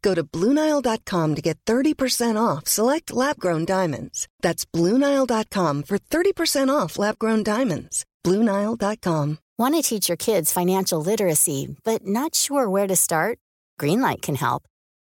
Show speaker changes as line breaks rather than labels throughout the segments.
Go to BlueNile.com to get 30% off select lab grown diamonds. That's BlueNile.com for 30% off lab grown diamonds. BlueNile.com.
Want to teach your kids financial literacy, but not sure where to start? Greenlight can help.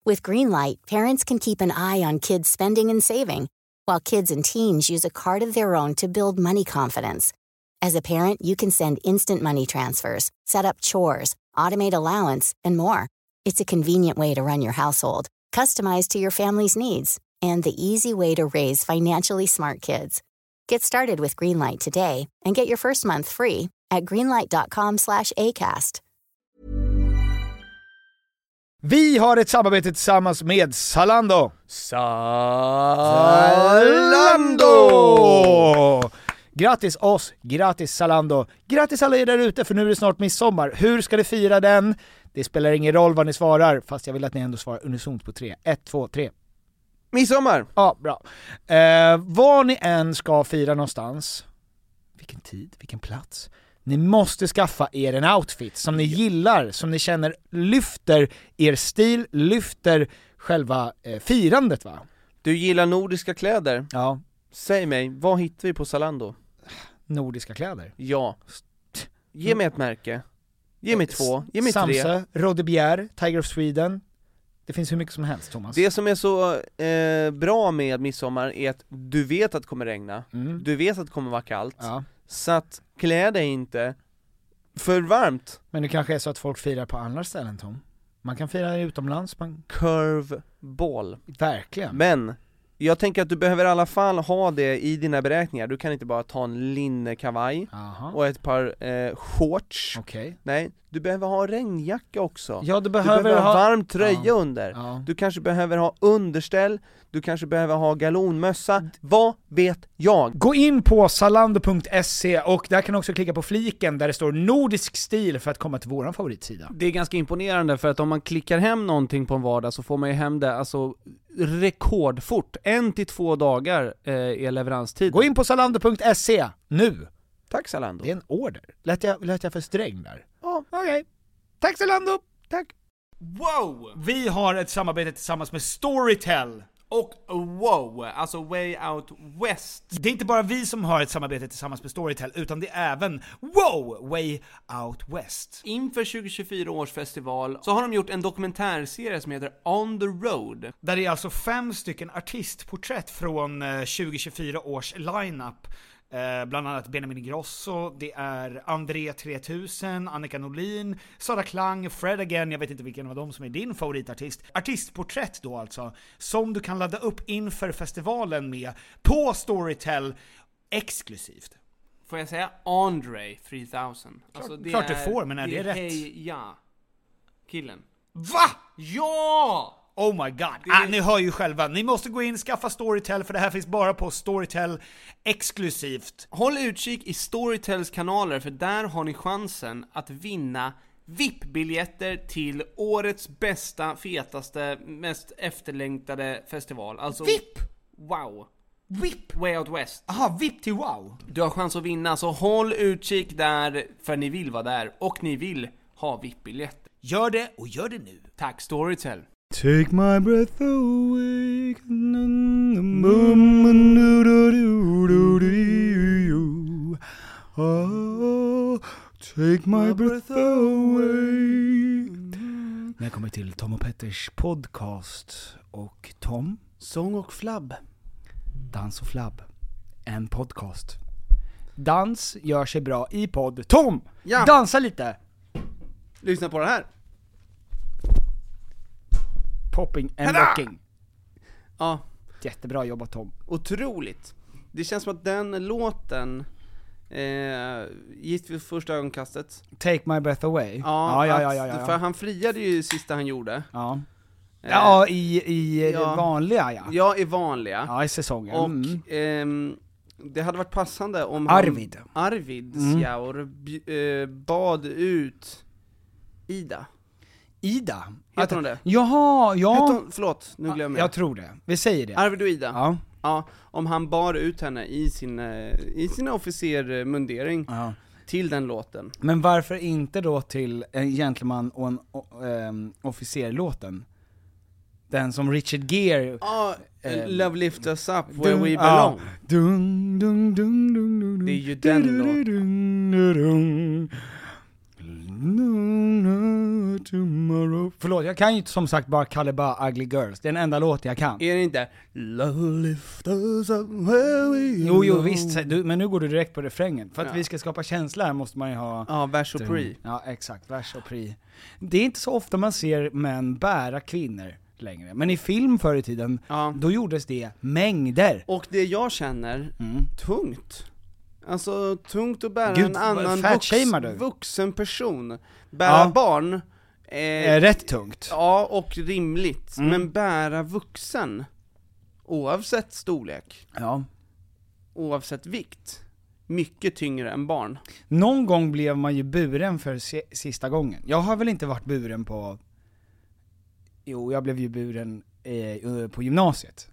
With Greenlight, parents can keep an eye on kids' spending and saving, while kids and teens use a card of their own to build money confidence. As a parent, you can send instant money transfers, set up chores, automate allowance, and more. It's a convenient way to run your household, customized to your family's needs, and the easy way to raise financially smart kids. Get started with Greenlight today and get your first month free at greenlight.com/acast.
Vi har ett samarbete tillsammans med Zalando.
Zalando!
Grattis oss, grattis Zalando, grattis alla er där ute för nu är det snart midsommar. Hur ska ni fira den? Det spelar ingen roll vad ni svarar, fast jag vill att ni ändå svarar unisont på tre. Ett, två, tre.
Midsommar!
Ja, bra. Eh, var ni än ska fira någonstans, vilken tid, vilken plats, ni måste skaffa er en outfit som ni gillar, som ni känner lyfter er stil, lyfter själva eh, firandet va?
Du gillar nordiska kläder?
Ja,
Säg mig, vad hittar vi på Zalando?
nordiska kläder.
Ja. Ge mig ett märke. Ge mig två, ge mig tre.
Samse, Rodebjer, Tiger of Sweden. Det finns hur mycket som helst Thomas.
Det som är så eh, bra med midsommar är att du vet att det kommer regna,
Mm.
du vet att det kommer vara kallt,
Ja.
så att klä dig inte för varmt.
Men det kanske är så att folk firar på andra ställen Tom. Man kan fira utomlands, man...
Curveball.
verkligen.
Men, jag tänker att du behöver i alla fall ha det i dina beräkningar, du kan inte bara ta en linnekavaj
Aha.
och ett par eh, shorts
Okej.
Nej, du behöver ha regnjacka också.
Ja, du
du
behöver,
behöver ha
ha...
varm tröja
Ja.
under.
Ja.
Du kanske behöver ha underställ, du kanske behöver ha galonmössa, vad vet jag?
Gå in på salando.se och där kan du också klicka på fliken där det står nordisk stil för att komma till våran favoritsida.
Det är ganska imponerande för att om man klickar hem någonting på en vardag så får man ju hem det alltså rekordfort. En till två dagar eh, är leveranstid.
Gå in på salando.se nu!
Tack Zalando.
Det är en order. Lät jag, lät jag för sträng där?
Ja.
Okej. Tack Zalando! Tack!
Wow!
Vi har ett samarbete tillsammans med Storytel.
Och wow, alltså Way Out West.
Det är inte bara vi som har ett samarbete tillsammans med Storytel, utan det är även WOW! Way Out West.
Inför 2024 års festival så har de gjort en dokumentärserie som heter On the Road.
Där det är alltså fem stycken artistporträtt från eh, 2024 års lineup. Eh, Bland annat Benjamin Ingrosso, det är André 3000, Annika Norlin, Sara Klang, Fred Again, jag vet inte vilken av dem som är din favoritartist. Artistporträtt då alltså, som du kan ladda upp inför festivalen med på Storytel exklusivt.
Får jag säga Andre 3000? Alltså det
klart du får, men är det rätt?
Hey, ja. Killen.
VA?
Ja!
Oh my god! Ah, ni hör ju själva, ni måste gå in, skaffa Storytel för det här finns bara på Storytel exklusivt.
Håll utkik i Storytels kanaler för där har ni chansen att vinna VIP-biljetter till årets bästa, fetaste, mest efterlängtade festival. Alltså...
VIP?
Wow!
VIP!
Way Out West.
Aha, VIP till wow!
Du har chans att vinna, så håll utkik där, för ni vill vara där och ni vill ha VIP-biljetter.
Gör det, och gör det nu!
Tack Storytel!
Take my breath away mm, mm, mm, do, do, do, do, do. Oh, Take my breath away När jag kommer till Tom och Petters podcast och Tom
Sång och flabb.
Dans och flabb, en podcast. dans gör sig bra i podd. Tom!
Ja.
Dansa lite!
Lyssna på det här.
Popping and
Hurra!
rocking.
Ja,
Jättebra jobbat Tom.
otroligt. Det känns som att den låten, eh, gick vid första ögonkastet.
Take my breath away.
Ja,
ja,
att-
ja, ja, ja,
För
ja.
han friade ju sista han gjorde.
ja.
Eh,
ja i, i
ja.
det vanliga ja.
Jag är vanliga.
Ja, i säsongen.
Och
Mm.
ehm, det hade varit passande om
Arvid.
han, Arvid Sjaur bj- eh, bad ut Ida.
Ida.
Heter hon det?
Jaha,
Hette
ja.
hon, förlåt, nu glömmer jag.
Jag tror det. Vi säger det.
Arvid och Ida. Ja.
Ja.
om han bar ut henne i sin, eh, i sin officermundering
ja.
till den låten.
Men varför inte då till en gentleman och en o- ehm, officer-låten? Den som Richard Gere...
Ja,
Ehm,
Love lift us up where
Dun-
we
ja.
belong.
Dun, dun, dun, dun, dun, dun.
Det är ju den
Du-du-du-dun, du-dun. Luna tomorrow. Förlåt, jag kan ju inte som sagt bara Kalle Ba Ugly Girls, det är den enda låten jag kan.
Är det inte Love lift us up where we
Jo, jo
belong.
visst, så- du, men nu går du direkt på refrängen. För att
Ja.
vi ska skapa känsla här måste man ju ha...
Ja, vers och pre.
Ja, exakt. Vers och pri. Det är inte så ofta man ser män bära kvinnor längre. Men i film förr i tiden,
Ja.
då gjordes det mängder. Mm.
Och det jag känner, tungt. Alltså tungt att bära
Gud,
en annan
vad
vux,
fatshamar du.
vuxen person. Bära
Ja.
barn,
Eh,
eh,
rätt Mm. tungt.
ja och rimligt, men bära vuxen, oavsett storlek,
Ja.
oavsett vikt, mycket tyngre än barn.
Någon gång blev man ju buren för si- sista gången. Jag har väl inte varit buren på... Jo, jag blev ju buren eh, på gymnasiet.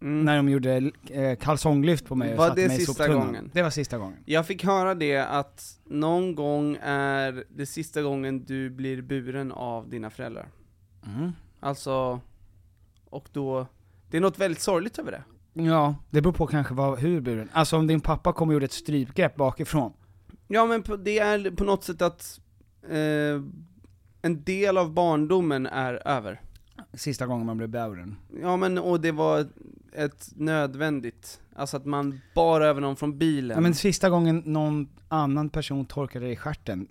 Mm.
När de gjorde eh, kalsonglyft på mig och
Var
satte
det
mig i
sista
soptunnan.
gången?
Det var sista gången.
Jag fick höra det att någon gång är det sista gången du blir buren av dina föräldrar. Alltså, och då, det är något väldigt sorgligt över det.
Ja, det beror på kanske vad, hur buren. Alltså om din pappa kom och gjorde ett strypgrepp bakifrån.
Ja men på, det är på något sätt att eh, en del av barndomen är över.
Sista gången man blev buren.
Ja men och det var ett nödvändigt, alltså att man bar över någon från bilen.
Ja men sista gången någon annan person torkade dig i stjärten.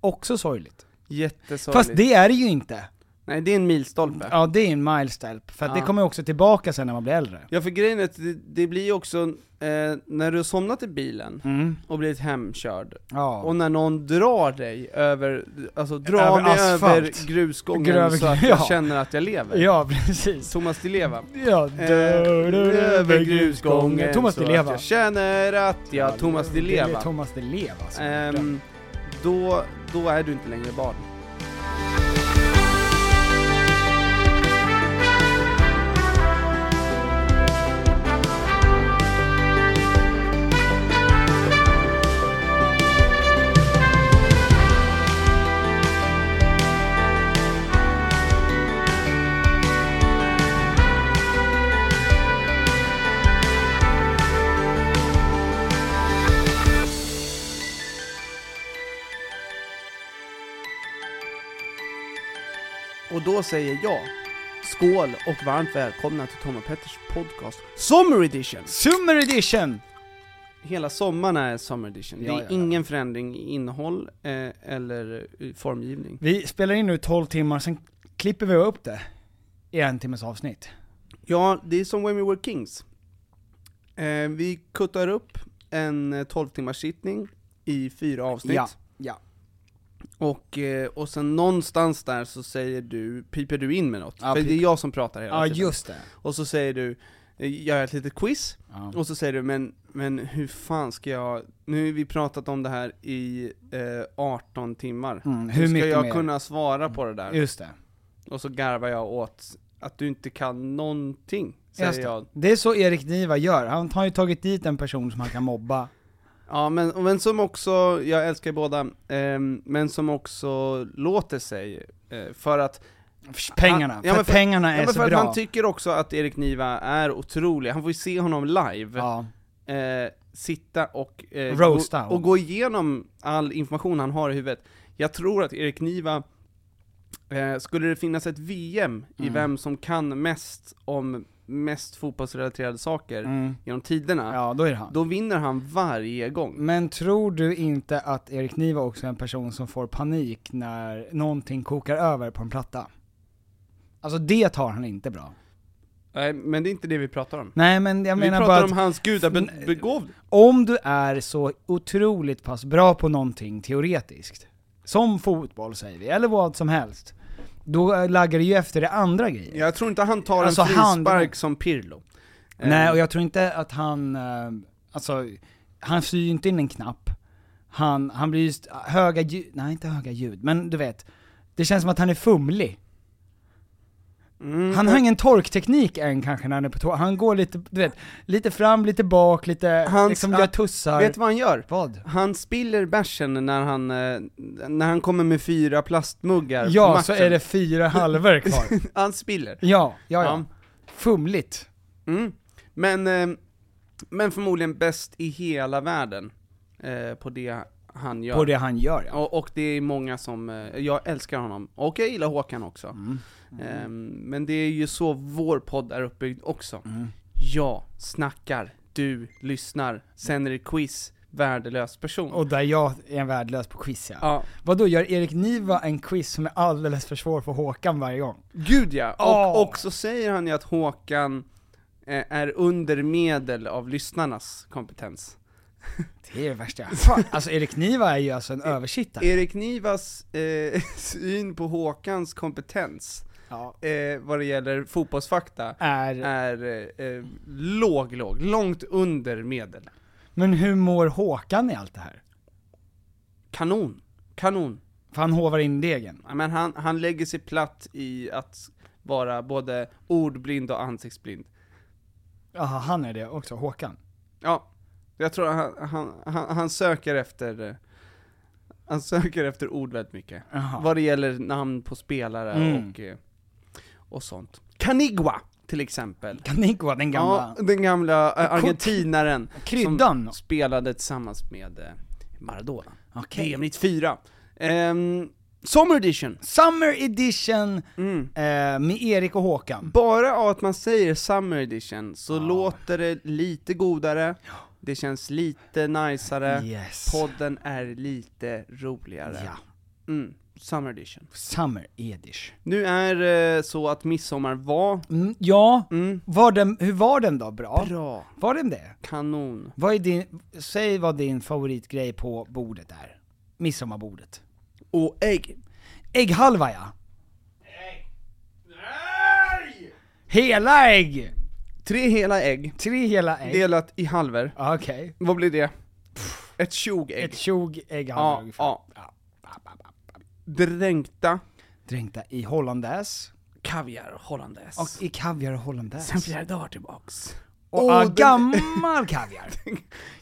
Också sorgligt.
Jättesorgligt.
Fast det är det ju inte.
Nej det är en milstolpe.
Ja det är en milestolpe, för att
Ja.
det kommer också tillbaka sen när man blir äldre.
Ja för grejen är att det, det blir ju också, eh, när du har somnat i bilen
Mm.
och blivit hemkörd,
Ja.
och när någon drar dig över, alltså drar
Över
mig över
asfalt.
grusgången
Gröver-
så att jag
ja.
känner att jag lever.
ja precis.
Thomas Di Leva. Eh,
Ja, dörren över grusgången. Thomas
så
Di Leva.
att Jag känner att jag Thomas Di
Det
Leva.
är Thomas Di Leva alltså.
Ehm, då, då är du inte längre barn. Och då säger jag skål och varmt välkomna till Tom och Petters podcast Summer Edition!
Summer edition!
Hela sommaren är Summer Edition.
Ja,
det är
ja, ja.
ingen förändring i innehåll eh, eller i formgivning.
Vi spelar in nu 12 timmar, sen klipper vi upp det i en timmes avsnitt.
Ja, det är som When We Were Kings. Eh, vi kuttar upp en eh, 12 timmars sittning i fyra avsnitt.
Ja, ja.
Och, eh, och sen någonstans där så säger du, piper du in med något.
Ja,
För
pip-
det är jag som pratar hela
Ja
tiden.
just det.
Och så säger du, eh, gör jag ett litet quiz,
Ja.
och så säger du men, men hur fan ska jag, nu har vi pratat om det här i eh, 18 timmar.
Mm,
Hur
hur
ska
mycket
jag
mer? Mm.
kunna svara på det där?
Just det.
Och så garvar jag åt att du inte kan någonting,
Just
säger
det.
jag.
Det är så Erik Niva gör, han har ju tagit dit en person som han kan mobba.
Ja men, och men som också, jag älskar ju båda, ehm, men som också låter sig, eh, för att
Pengarna,
Ja,
för,
men
att
för-
pengarna
ja,
är
men
så
för att
bra.
man tycker också att Erik Niva är otrolig, han får ju se honom live,
ja.
eh, sitta och, eh,
Roasta
gå, och
honom.
gå igenom all information han har i huvudet. Jag tror att Erik Niva,
Mm.
eh, skulle det finnas ett VM i vem som kan mest om mest fotbollsrelaterade saker
Mm.
genom tiderna,
Ja, Mm. då är det han.
då vinner han varje gång.
Men tror du inte att Erik Niva också är en person som får panik när någonting kokar över på en platta? Alltså det tar han inte bra.
Nej, men det är inte det vi pratar om.
Nej men jag
vi
menar bara
pratar
att
om hans gudabegåvning.
om du är så otroligt pass bra på någonting teoretiskt, som fotboll säger vi, eller vad som helst, då eh, laggar du ju efter det andra grejer.
Jag tror inte han tar
Alltså,
en
han-
frispark som Pirlo. Eh,
Nej, och jag tror inte att han, eh, alltså, han syr ju inte in en knapp. Han, han blir just höga ljud, nej inte höga ljud, men du vet, det känns som att han är fumlig.
Mm.
Han har ingen torkteknik än kanske när han är på tå. han går lite, du vet, lite fram, lite bak, lite,
Hans-
liksom gör
han-
tussar.
Vet du vad han gör?
vad?
Han spiller bärsen när han, eh, när han kommer med fyra plastmuggar på
Ja,
matchen.
så är det fyra halvor kvar.
Han spiller.
Ja, ja, ja.
Ja.
Fumligt.
Mm. Men, eh, men förmodligen bäst i hela världen eh, på det han gör.
På det han gör ja.
Och, och det är många som, eh, jag älskar honom, och jag gillar Håkan också.
Mm.
Eh, men det är ju så vår podd är uppbyggd också.
Mm.
Jag snackar, du lyssnar, sen är det quiz, värdelös person.
Och där jag är en värdelös på quiz ja.
ja.
Vadå, gör Erik Niva en quiz som är alldeles för svår för Håkan varje gång?
Gud ja!
Åh.
Och, och så säger han ju att Håkan eh, är under medel av lyssnarnas kompetens.
Det är det värsta jag har hört. Alltså Erik Niva är ju alltså
E-
en översittare.
Erik Nivas eh, syn på Håkans kompetens
Ja.
eh, vad det gäller fotbollsfakta
Är,
är eh, eh, låg, låg, långt under medel.
men hur mår Håkan i allt det här?
Kanon, kanon.
För han hovar in degen.
Ja, Men han, han lägger sig platt i att vara både ordblind och ansiktsblind.
Jaha, han är det också, Håkan.
Ja, jag tror han, han, han, han söker efter eh, han söker efter ord väldigt mycket.
Jaha.
Vad det gäller namn på spelare
Mm.
och, eh, och sånt. Canigua till exempel.
Kan ni gå den gamla?
Ja, den gamla eh, argentinaren
Kryddan?
som spelade tillsammans med eh, Maradona.
Okej.
VM 94. Um, Summer edition!
Summer edition
Mm.
eh, med Erik och Håkan.
Bara av att man säger summer edition så låter det lite godare, det känns lite najsare,
Yes.
podden är lite roligare.
Ja.
Mm, summer edition.
Summer edition.
Nu är det så att midsommar var
Mm, ja,
mm,
var den, hur var den då? Bra?
bra,
Var den det?
kanon.
Vad är din, säg vad din favoritgrej på bordet är. Midsommarbordet.
Och ägg.
Ägghalva ja! Hela ägg!
Tre hela ägg,
Tre hela ägg.
delat i halvor.
Ja, Okej.
Vad blir det? Ett tjogägg.
Ett tjog ägghalva
ja,
ungefär.
ja. Dränkta
Dränkta i hollandaise.
kaviar hollandaise.
Och i kaviar och hollandaise.
sen flera dagar tillbaks.
Och
Åh,
ah,
den-
gammal kaviar.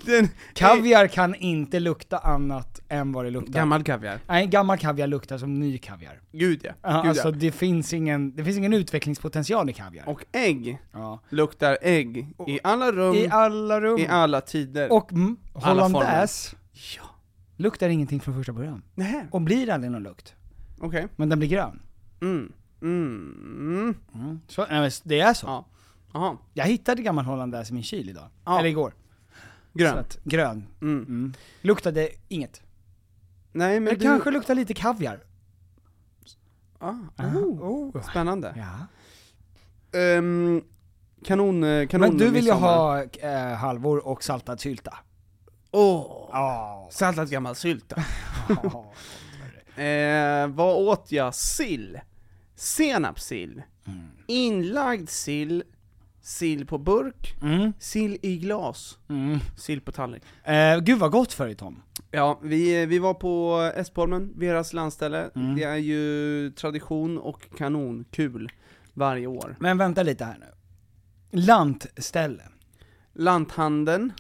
Den,
Kaviar kan inte lukta annat än vad det luktar.
Gammal kaviar.
Nej, gammal kaviar luktar som ny kaviar.
Gud ja.
Ja,
Gud
alltså
ja.
det finns ingen, det finns ingen utvecklingspotential i kaviar.
Och ägg
ja.
luktar ägg i alla rum,
I
i,
alla rum.
alla tider.
Och mm,
Alla
hollandaise
Ja.
luktar ingenting från första början.
Nähä,
Och blir aldrig någon lukt.
okej.
Men den blir grön.
Mm. Mm. Mm.
Så, nej, men det är så.
Ja. Jaha.
Jag hittade gammal hollandaise i min kyl idag.
Ja.
Eller igår. Så
Grön.
att, grön.
Mm.
Mm. Luktade inget.
Nej
Men
men
det
du...
kanske luktar lite kaviar.
Ah.
Oh.
Oh. Spännande.
Ja.
Ehm, kanon, eh, kanon
Men du vill ju
midsommar.
ha eh, halvor och saltad sylta.
Åh!
Ja.
Saltad gammal sylta. Eh, vad åt jag? Sill. Senapssill.
Mm.
Inlagd sill. Sill på burk.
Mm.
Sill i glas.
Mm.
Sill på tallrik.
Eh, gud vad gott förr Tom.
Ja, vi, vi var på Espholmen, Veras landställe.
Mm.
Det är ju tradition och kanon, kul, varje år.
Men vänta lite här nu. Lantställe.
Lanthandeln,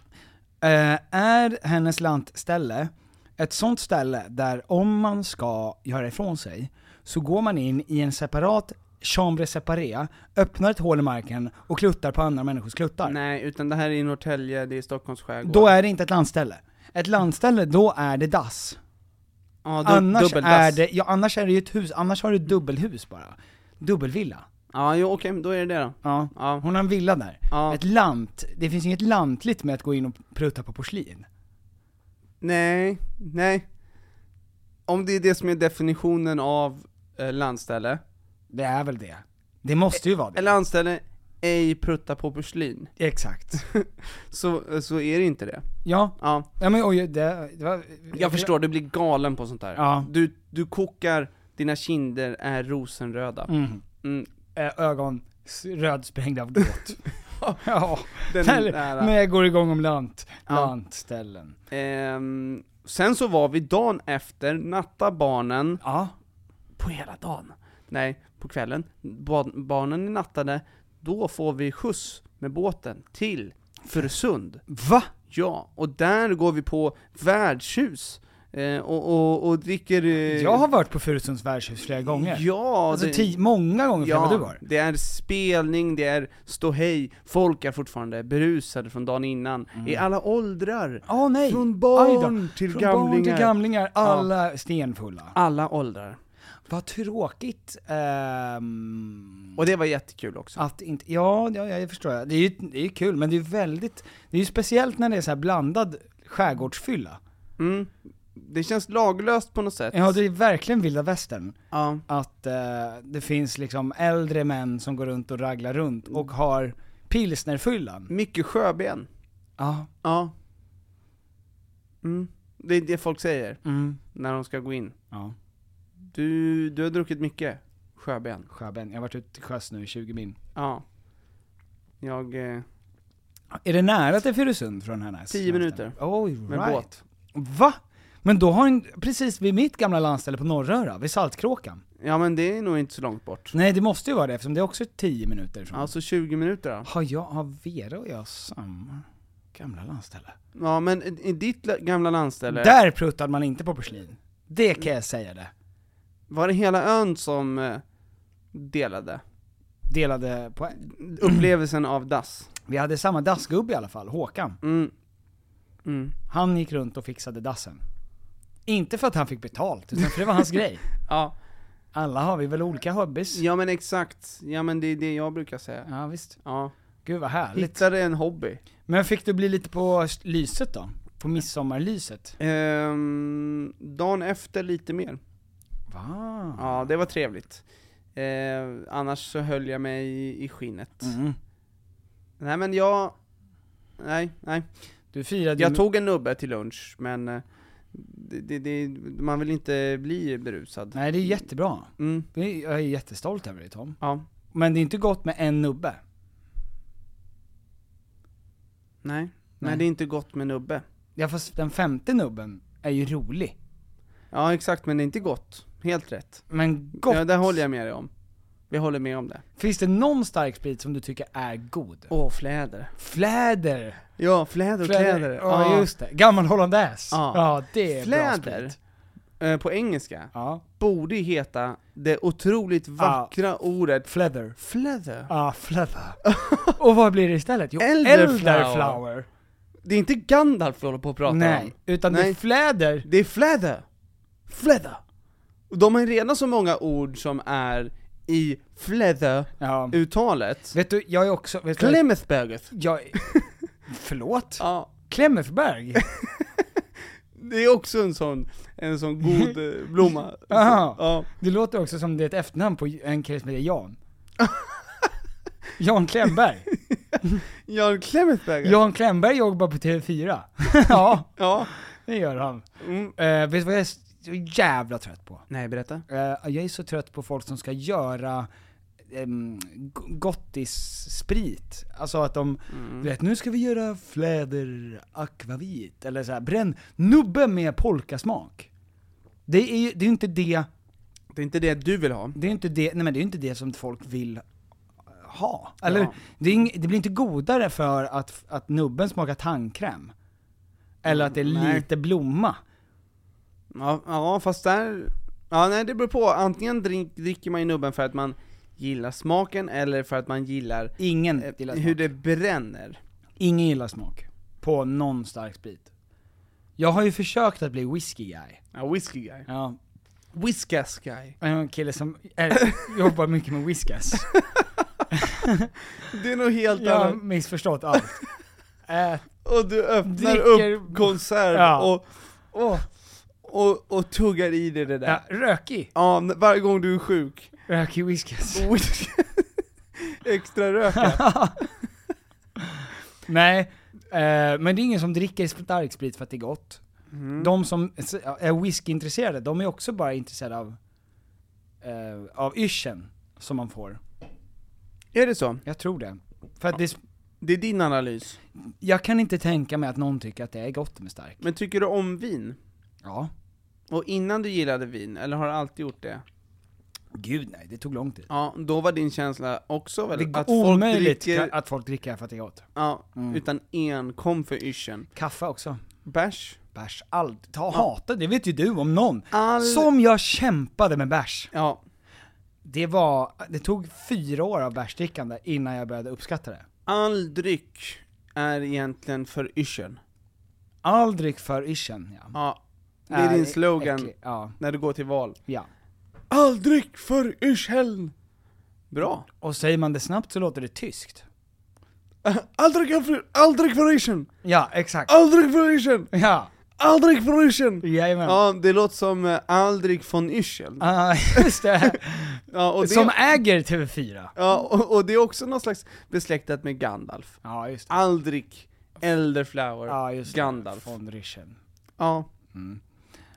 Eh, är hennes lantställe ett sånt ställe där om man ska göra ifrån sig, så går man in i en separat chambre separé, öppnar ett hål i marken och kluttar på andra människors kluttar?
nej utan det här är i Norrtälje, det är Stockholms skärgård.
Då är det inte ett lantställe. Ett lantställe, då är det dass.
ja, du,
Annars
dubbeldass.
är det, ja annars är det ju ett hus, annars har du ett dubbelhus bara. Dubbelvilla.
Ja, jo, okej, men då är det det då.
Ja.
Ja.
Hon har en villa där.
Ja.
Ett lant, det finns inget lantligt med att gå in och prutta på porslin.
Nej, nej. Om det är det som är definitionen av eh, landställe.
Det är väl det. Det måste ju vara det.
Eller landställe, ej prutta på porslin.
Exakt.
Så, så är det inte det.
Ja,
Ja.
ja men oj, det, det var...
Jag förstår, du blir galen på sånt där.
Ja.
Du, du kokar, dina kinder är rosenröda.
Mm.
Mm.
Ö- Ögon s- rödsprängda av gråt. ja.
Den
Eller,
där,
när jag går igång om lant,
Ja.
lantställen.
ehm, sen så var vi dagen efter, natta barnen,
Ja.
på hela dagen. Nej, på kvällen. Ba- barnen är nattade, då får vi skjuts med båten till Fursund.
Va?
Ja, och där går vi på värdshus eh, och, och, och dricker... Eh,
Jag har varit på Furusunds värdshus flera gånger.
Ja,
alltså
det-
ti- många gånger fler än vad du var.
det är spelning, det är ståhej, folk är fortfarande berusade från dagen innan, i
Mm.
alla åldrar.
Åh nej!
Från barn
Aj då.
till
Från barn
gamlingar.
till gamlingar, alla stenfulla.
Alla åldrar.
Vad tråkigt ehm,
Och det var jättekul också.
att inte, ja, ja jag förstår. jag. Det är ju det är ju kul, men det är ju väldigt, det är ju speciellt när det är så här blandad skärgårdsfylla.
Mm. Det känns laglöst på något sätt.
Ja, det är verkligen vilda västern.
Ja.
Att eh, det finns liksom äldre män som går runt och raglar runt
Mm.
och har pilsnerfyllan.
Mycket sjöben.
Ja.
Ja. Mm. Det är det folk säger
Mm.
när de ska gå in.
Ja,
Du, du har druckit mycket sjöben.
sjöben. Jag har varit ute till sjöss nu i 20 min.
Ja. Jag... Eh,
Är det nära till Furusund från Härnäs?
10 minuter.
Oj,
med
right.
båt.
Va? Men då har en, precis vid mitt gamla landställe på Norröra, vid Saltkråkan.
Ja men det är nog inte så långt bort.
Nej det måste ju vara det eftersom det är också 10 minuter ifrån.
Alltså 20 minuter då.
Har jag, har Vera och jag samma gamla landställe?
Ja men i- i ditt la- gamla landställe,
Där pruttade man inte på porslin. Det kan jag säga det.
var det hela ön som eh, delade
Delade på
upplevelsen av dass?
Vi hade samma dassgubbe i alla fall, Håkan.
Mm. Mm.
Han gick runt och fixade dassen. Inte för att han fick betalt, utan för det var hans grej.
Ja.
Alla har vi väl olika hobbies?
ja men exakt, ja men det är det jag brukar säga.
Ja visst.
Ja.
Gud vad härligt.
Hittade en hobby.
Men fick du bli lite på s- lyset då? På midsommarlyset?
Ehm, dagen efter lite mer.
Va?
Ja det var trevligt. Ehm, annars så höll jag mig i, i skinnet.
Mm.
Nej men jag, nej, nej.
Du firade ju-
Jag tog en nubbe till lunch, men eh, det, det, det, man vill inte bli berusad.
Nej det är jättebra.
Mm,
Det är- Jag är jättestolt över dig Tom.
ja,
Men det är inte gott med en nubbe.
nej. nej.
Nej.
det är inte gott med nubbe.
Ja fast den femte nubben är ju rolig.
Ja, exakt, men det är inte gott. Helt rätt.
Men gott!
Ja, det håller jag med dig om. Vi håller med om det.
Finns det någon stark sprit som du tycker är god?
Åh, fläder.
Fläder!
Ja, fläder och kläder.
Ja just det. Gammal hollandaise.
Ja.
Ja det är bra
Fläder,
sprit.
eh, på engelska,
Ja.
borde ju heta det otroligt vackra ordet
Fläder.
fläder.
Ja, fläder. Och vad blir det istället? Jo,
Elderflower.
elderflower.
Det är inte Gandalf vi håller på att prata om.
Nej, utan det är
Nej.
fläder.
Det är fläder. Fläder. Och de har redan så många ord som är i
Ja.
fläder-uttalet.
Vet du, jag är också... Vet du,
Klemmesberget.
jag är, Förlåt?
Ja,
Klemmerberg?
det är också en sån, en sån god eh, blomma.
Aha.
Ja.
Det låter också som det är ett efternamn på en kille som heter Jan. Jan Klemberg.
Jan Klemmesberget.
Jan Klemberg jobbar på TV4. ja,
Ja.
det gör han.
Mm.
Eh, vet du vad jag är så jävla trött på?
Nej, berätta.
Eh, jag är så trött på folk som ska göra um, gottissprit. Alltså att de, du vet, nu ska vi göra fläder akvavit, eller så här, bränn nubbe med polkasmak. Det är ju det är ju inte det,
Det är inte det du vill ha.
det är inte det, nej men det är ju inte det som folk vill ha. Eller,
Ja.
det, är ing, det blir inte godare för att, att nubben smakar tandkräm. Eller att det är
Mm, Nej.
lite blomma.
Ja, ja fast där... Ja, nej det beror på. Antingen drink, dricker man ju nubben för att man gillar smaken, eller för att man gillar,
Ingen
eh,
gillar
hur
smak.
det bränner.
Ingen gillar smak. På någon stark sprit. Jag har ju försökt att bli whisky guy.
Ja, whisky guy.
Ja.
Whiskas guy.
En kille som är, jobbar mycket med whiskas.
Det är nog helt
Jag har
annat.
missförstått allt. Eh,
Och du öppnar
Dricker-
upp konserv
Ja.
och, och, och, och tuggar i dig det där.
ja,
Ja.
rökig.
n- varje gång du är sjuk.
Rökig whiskas.
Extra röka.
Nej, eh, men det är ingen som dricker starksprit för att det är gott.
Mm.
De som s- är whiskyintresserade, de är också bara intresserade av, eh, av yrseln som man får.
Är det så?
Jag tror det. För att det, s-
Det är din analys.
jag kan inte tänka mig att någon tycker att det är gott med stark.
Men tycker du om vin?
Ja.
Och innan du gillade vin, eller har du alltid gjort det?
Gud nej, det tog lång tid.
Ja, då var din känsla också väl
Det är
att folk
omöjligt
dricker,
ka- att folk dricker för att det är gott.
ja, utan enkom för yrseln.
Kaffe också.
Bärs?
Bärs, allt. Ta hata, det vet ju du om någon.
All-
Som jag kämpade med bärs.
Ja,
Det var, det tog fyra år av bärsdrickande innan jag började uppskatta det.
all dryck är egentligen för yrseln.
All dryck för ischen, ja.
Ja, det är din slogan
äcklig, Ja,
när du går till val.
ja.
All dryck för yrseln! Bra.
Och säger man det snabbt så låter det tyskt.
All dryck för, all dryck för yrseln!
Ja, exakt.
All dryck för yrseln!
Oh! Ja,
All dryck för yrseln!
jajamän.
Ja, det låter som eh, all dryck von Yrsel.
Ah, just det.
Ja, och det,
Som äger TV4.
ja, och, och det är också någon slags besläktat med Gandalf.
Ja, just det.
Aldrik, Elderflower,
Ja, just det.
Ah, Gandalf.
Von Rischen.
Ja,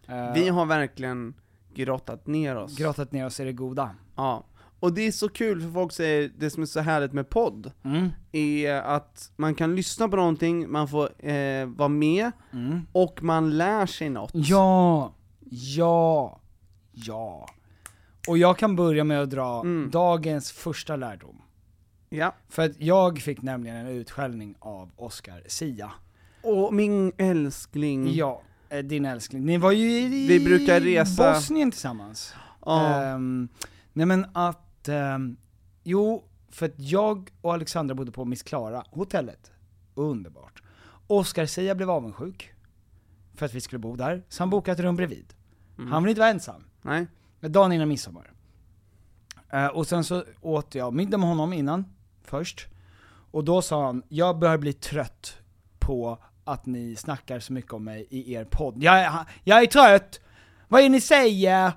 Eh,
vi har verkligen grottat ner oss.
grottat ner oss i det goda.
ja. Och det är så kul, för folk säger det som är så härligt med podd, är att man kan lyssna på någonting, man får eh, vara med, och man lär sig något.
Mm. Ja, ja, ja. Och jag kan börja med att dra
Mm.
dagens första lärdom.
Ja.
För att jag fick nämligen en utskällning av Oscar Sia.
Och min älskling.
Ja, eh, din älskling. Ni var ju i
Mm. Vi brukar resa-
Bosnien tillsammans.
Ja.
Ehm, nej men att, ehm, jo, för att jag och Alexandra bodde på Miss Klara hotellet. Underbart. Oscar Sia blev avundsjuk. För att vi skulle bo där, så han bokade ett rum bredvid.
Mm.
Han vill inte vara ensam.
Nej.
Dagen innan midsommar. Eh, och sen så åt jag middag med honom innan, först. Och då sa han, jag börjar bli trött på att ni snackar så mycket om mig i er podd. Jag är, jag är trött! Vad är det ni säger?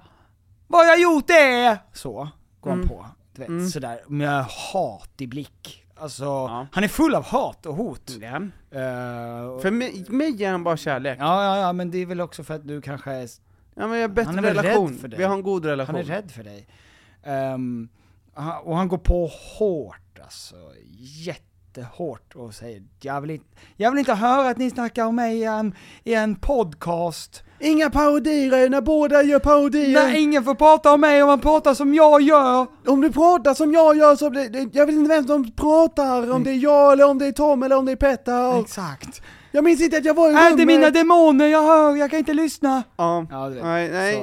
Vad har jag gjort det? Så, går han på. Du vet, sådär, med hat i blick. Alltså, han är full av hat och hot.
Ja.
Eh, och,
Mm. För mig, mig ger han bara kärlek. Ja,
ja, ja, ja, men det är väl också för att du kanske är
men jag har bättre
Han är väl rädd
relation.
för dig.
Vi har en god relation.
Han är rädd för dig. Ehm, han- och han går på hårt alltså, jättehårt och säger jag vill inte, jag vill inte höra att ni snackar om mig i en, i en podcast.
Inga parodier när båda gör parodier!
Nej, ingen får prata om mig om man pratar som jag gör!
Om du pratar som jag gör så blir det, jag vet inte vem som pratar, om det är jag eller om det är Tom eller om det är Petter.
Exakt.
Jag minns inte att jag var i
Är det
rummet.
mina demoner jag hör? Jag kan inte lyssna!
Ja,
Ja, du vet.
nej, nej.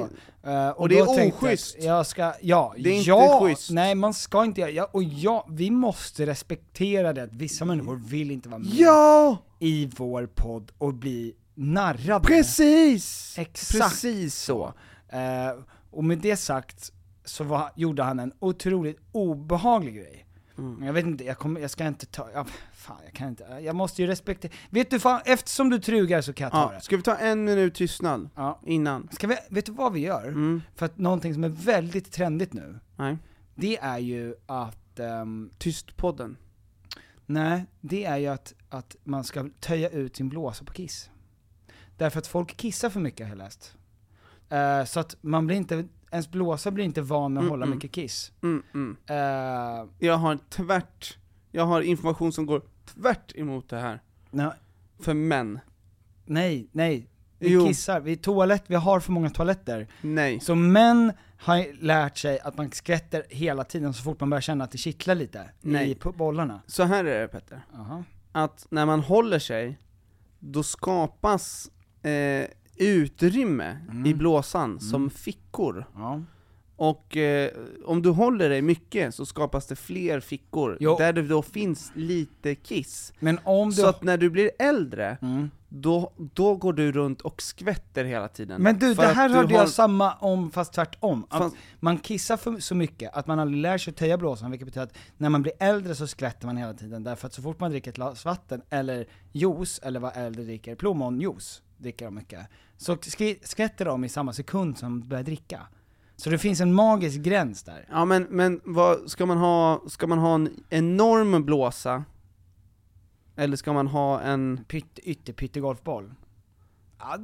Så, eh, och,
det
då
är
tänkte jag att
oschysst.
Jag ska, ja,
Det är inte
ja,
schysst.
Nej, man ska inte göra, ja, och ja, vi måste respektera det att vissa människor vill inte vara med.
Ja,
i vår podd och bli narrade.
precis!
Exakt.
Precis så.
Eh, och med det sagt så var, gjorde han en otroligt obehaglig grej.
Mm.
Jag vet inte, jag, kommer, jag ska inte ta, ja, fan jag kan inte, jag måste ju respektera, vet du fan, eftersom du trugar så kan jag ta
Ja,
det.
ska vi ta en minut tystnad?
Ja.
Innan? Mm.
Ska vi, vet du vad vi gör? För att någonting som är väldigt trendigt nu,
Nej.
det är ju att, ehm,
Tystpodden.
nej, det är ju att, att man ska töja ut sin blåsa på kiss. Därför att folk kissar för mycket har jag läst. Eh, så att man blir inte, ens blåsa blir inte van med att hålla mycket kiss.
Mm, mm.
Eh,
Jag har tvärt, jag har information som går tvärt emot det här.
nej,
För män.
nej, nej. Vi
Jo.
kissar, vi, toalett, vi har för många toaletter.
Nej.
Så män har lärt sig att man skvätter hela tiden så fort man börjar känna att det kittlar lite i
Nej.
pu- bollarna.
Så här är det Petter.
Aha.
att när man håller sig, då skapas eh, utrymme
Mm.
i blåsan som fickor.
Ja.
Och eh, om du håller dig mycket så skapas det fler fickor,
Jo.
där det då finns lite kiss.
Men om du... Mm.
Så att när du blir äldre, då, då går du runt och skvätter hela tiden.
Men du,
För
det
att
här
du
hörde
har-
jag samma om, fast tvärtom. Att
Fast-
man kissar för, så mycket att man aldrig lär sig att töja blåsan, vilket betyder att när man blir äldre så skvätter man hela tiden, därför att så fort man dricker ett glas vatten, eller juice, eller vad äldre dricker, plommonjuice, dricker de mycket, så skri- skvätter de i samma sekund som de börjar dricka. Så det finns en magisk gräns där.
Ja men, men vad, ska man ha, ska man ha en enorm blåsa? Eller ska man ha en,
Pytt, ytterpytte golfboll. Ja,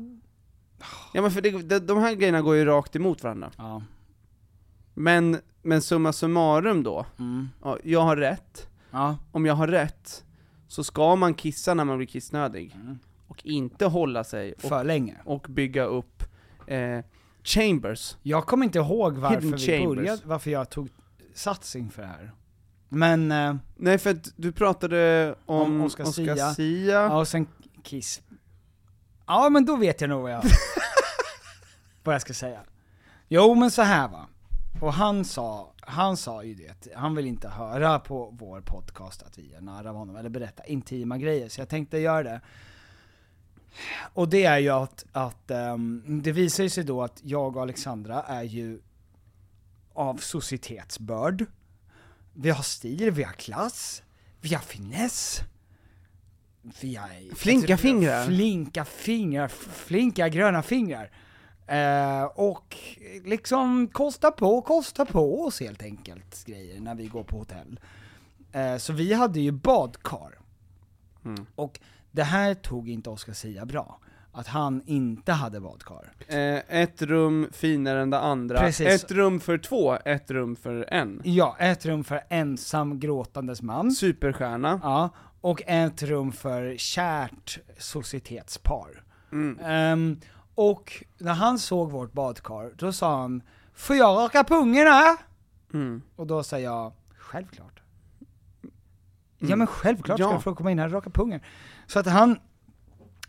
ja men för det, de, de här grejerna går ju rakt emot varandra.
ja.
Men, men summa summarum då,
Mm.
ja, jag har rätt,
ja.
om jag har rätt, så ska man kissa när man blir kissnödig.
Mm.
Och inte hålla sig och,
för länge.
och bygga upp eh, chambers.
Jag kommer inte ihåg varför
Hidden
vi
chambers.
började, varför jag tog sats inför det här. Men, eh,
Nej för att du pratade om,
Om Oscar
Oscar,
Sia.
Sia,
ja och sen Kiss. Ja men då vet jag nog vad jag, vad jag ska säga. Jo men så här va. Och han sa, han sa ju det, han vill inte höra på vår podcast att vi är nära av honom, eller berätta intima grejer, så jag tänkte göra det. Och det är ju att, att ehm, det visar ju sig då att jag och Alexandra är ju av societetsbörd. Vi har stil, vi har klass, vi har finess. Vi är,
Flinka fingrar.
Flinka fingrar, flinka gröna fingrar. Eh, och liksom kosta på, kosta på oss helt enkelt grejer när vi går på hotell. Eh, så vi hade ju badkar. Och det här tog inte Oscar Sia bra. Att han inte hade badkar.
Eh, ett rum finare än det andra.
Precis.
Ett rum för två, ett rum för en.
Ja, ett rum för ensam gråtandes man.
Superstjärna.
Ja, och ett rum för kärt societetspar.
Mm.
Ehm, och när han såg vårt badkar, då sa han 'Får jag raka pungarna?'
Mm.
Och då sa jag 'Självklart' Ja men självklart ska
Mm. Ja.
du få komma in här och raka pungen. Så att han,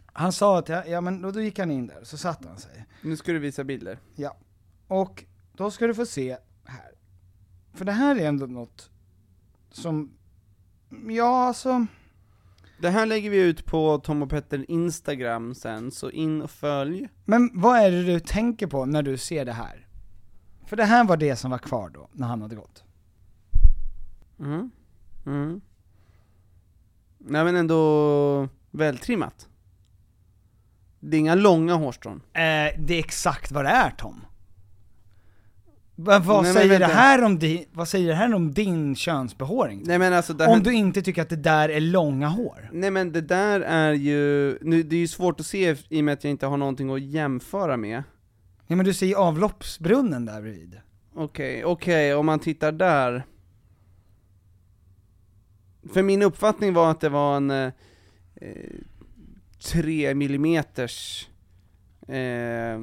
han sa att, jag, ja men då, då gick han in där, så satte han sig.
Nu ska du visa bilder.
Ja. Och då ska du få se här. För det här är ändå något som, ja alltså,
Det här lägger vi ut på Tom och Petter Instagram sen, så in och följ.
men vad är det du tänker på när du ser det här? För det här var det som var kvar då, när han hade gått.
Mm. Mm. Nej men ändå vältrimmat. Det är inga långa hårstrån.
Eh, det är exakt vad det är Tom. Va, vad,
Nej, men
säger det
vänta.
här om di, vad säger det här om din könsbehåring?
Nej men alltså det här...
Om du inte tycker att det där är långa hår?
Nej men det där är ju, Eh, nu, det är ju svårt att se i och med att jag inte har någonting att jämföra med.
Ja men du ser ju avloppsbrunnen där bredvid.
Okej, okej, om man tittar där. För min uppfattning var att det var en eh, eh, 3 millimeters eh,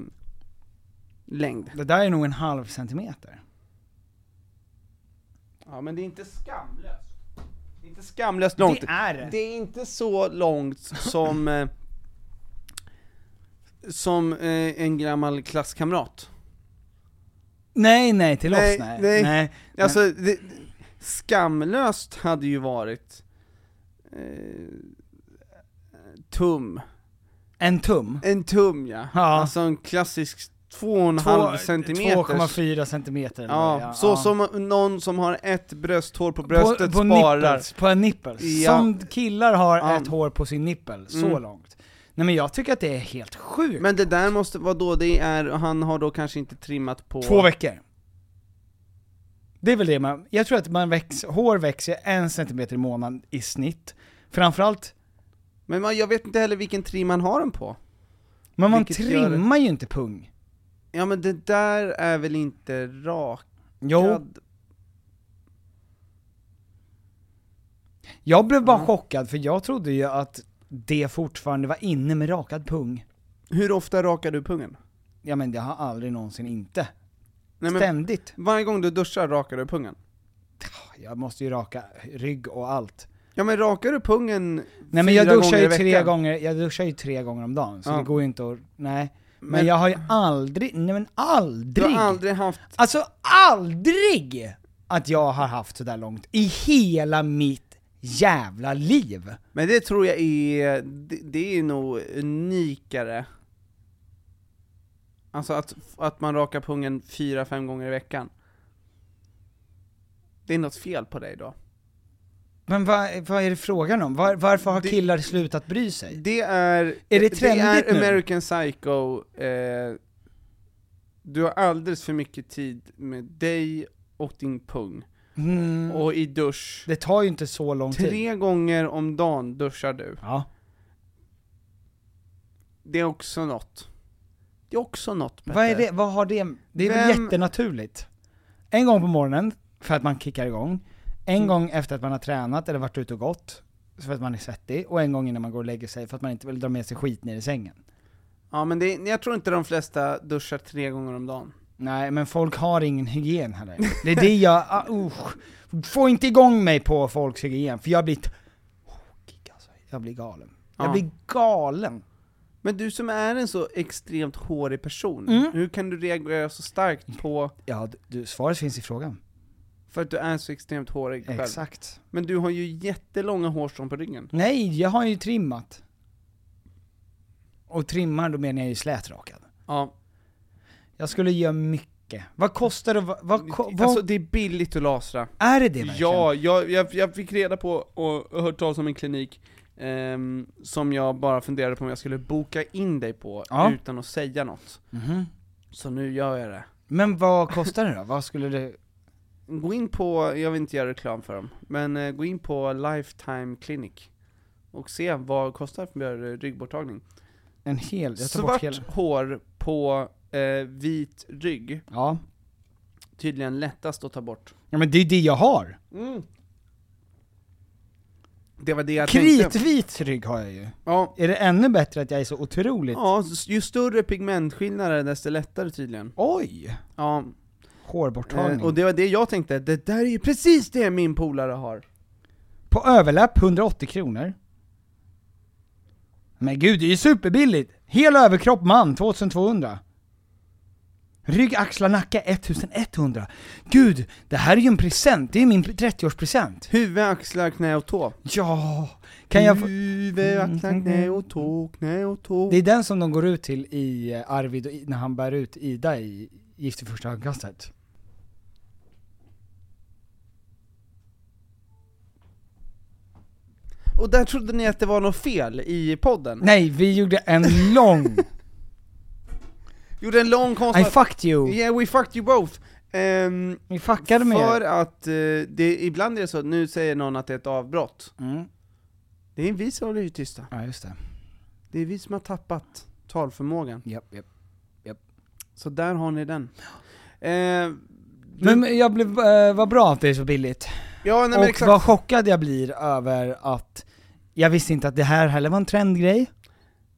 längd.
Det där är nog en halv centimeter.
Ja men det är inte skamlöst. Det är inte skamlöst långt.
Det är det.
Det är inte så långt som eh, som eh, en gammal klasskamrat.
Nej, nej, till
Nej,
oss nej.
nej.
nej.
Alltså, det, skamlöst hade ju varit eh, tum.
En tum?
En tum ja.
Ja.
Alltså en klassisk 2,5
Två-
centimeter.
2,4 centimeter. eller
Ja,
vad det är,
så som någon som har ett brösthår på bröstet
på, på
sparar.
Nipples, på en nippel.
Ja.
Som killar har
Ja.
ett hår på sin nippel, så
Mm.
långt. Nej men jag tycker att det är helt sjukt.
Men det där måste, vara då det är, han har då kanske inte trimmat på...
Två veckor. Det är väl det man, jag tror att man växer, hår växer en centimeter i månaden i snitt. Framförallt,
Men man, jag vet inte heller vilken trim man har den på.
men man
Vilket gör-
trimmar ju inte pung.
Ja men det där är väl inte rakad?
Jo, jag blev bara
Ja.
chockad för jag trodde ju att det fortfarande var inne med rakad pung.
Hur ofta rakar du pungen?
Ja men det har aldrig någonsin inte.
Nej, men
Ständigt.
varje gång du duschar rakar du pungen?
Jag måste ju raka rygg och allt.
Ja men rakar du pungen
Nej men jag
fyra
duschar ju
gånger i
tre
veckan?
gånger, jag duschar ju tre gånger om dagen, så
Ja.
det går ju inte att, nej. Men,
Men-
jag har ju aldrig, nej men
Du
aldrig!
har aldrig haft,
Alltså ALDRIG! Att jag har haft sådär långt i hela mitt jävla liv!
Men det tror jag är, det, det är nog unikare. Alltså att, att man rakar pungen fyra, fem gånger i veckan. Det är något fel på dig då.
Men vad, vad är det frågan om? Var, varför har
Det-
killar slutat bry sig?
Det är...
Är det trendigt
är
nu?
American Psycho, eh, du har alldeles för mycket tid med dig och din pung.
Mm,
Och i dusch,
det tar ju inte så lång tid.
tre gånger om dagen duschar du.
Ja.
Det är också något. Det är också något
Vad, är
Petter.
det, vad har det, det är väl
Vem-
jättenaturligt. En gång på morgonen, för att man kickar igång. En gång efter att man har tränat eller varit ute och gått, för att man är svettig. Och en gång innan man går och lägger sig, för att man inte vill dra med sig skit ner i sängen.
Ja men det, jag tror inte de flesta duschar tre gånger om dagen.
Nej, men folk har ingen hygien heller. Det är det jag, ah, usch. Få inte igång mig på folks hygien, för jag blir t- tokig alltså. Jag blir galen. Jag
Ja.
blir galen.
Men du som är en så extremt hårig person,
Mm.
hur kan du reagera så starkt på,
Ja, du- du, svaret finns i frågan.
för att du är så extremt hårig själv?
Exakt.
Men du har ju jättelånga hårstrån på ryggen.
Nej, jag har ju trimmat. Och trimmar, då menar jag ju slätrakad.
Ja.
Jag skulle göra mycket. Vad kostar det? Vad, vad, ko- vad
Alltså det är billigt att lasra.
är det det verkligen?
Ja, jag, jag, jag fick reda på och och hört talas om en klinik ehm, som jag bara funderade på om jag skulle boka in dig på
Ja.
utan att säga något.
Mhm.
Så nu gör jag det.
Men vad kostar det då? Vad skulle det...
Gå in på, jag vill inte göra reklam för dem, men eh, gå in på Lifetime Clinic och se vad det kostar för eh, ryggborttagning.
En hel... Jag tar bort
Svart
hela...
hår på eh, vit rygg,
Ja.
tydligen lättast att ta bort.
ja, men det är det jag har.
Det var det jag tänkte.
Kritvit rygg har jag ju.
Ja,
Är det ännu bättre att jag är så otroligt...
ja, s- ju större pigmentskillnader desto lättare tydligen.
Oj!
Ja,
Hårborttagning.
eh, och det var det jag tänkte, det där är ju precis det min polare har.
På överläpp 180 kronor. Men gud, det är ju superbilligt! Hel överkropp man, 2200. Rygg, axlar, nacke, 1100. Gud, det här är ju en present, det är min 30-årspresent.
Huvud, axlar, knä och tå.
Ja, kan jag få... Mm,
Huvud, axlar, knä och tå, knä och tå.
Det är den som de går ut till i eh, Arvid, och i- när han bär ut Ida i Gift i första ögonkastet.
Och där trodde ni att det var något fel i podden?
Nej, vi gjorde en lång...
Gjorde en lång
I
konstig...
fucked you!
Yeah, we fucked you both! Ehm,
Ni fuckade med
för
er.
att eh, det, ibland är det så att nu säger någon att det är ett avbrott.
Mm.
Det är vi som håller ju tysta.
Ja, just det.
Det är vi som har tappat talförmågan.
Japp, japp.
Så där har ni den. Ehm, du,
Men men jag blev, eh, vad bra att det är så billigt.
ja, nej, men
och
exakt.
vad chockad jag blir över att jag visste inte att det här heller var en trendgrej.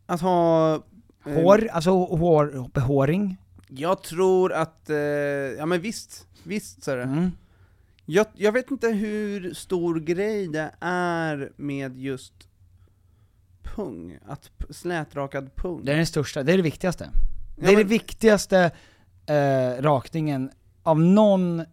Att ha... eh,
Hår, alltså hår, behåring.
Jag tror att... Eh, ja men visst, visst så är det.
Mm.
Jag, jag vet inte hur stor grej det är med just pung, att p- slätrakad pung.
Det är den största, det är det viktigaste. Det
Ja,
är
men-
det viktigaste eh, rakningen av någon,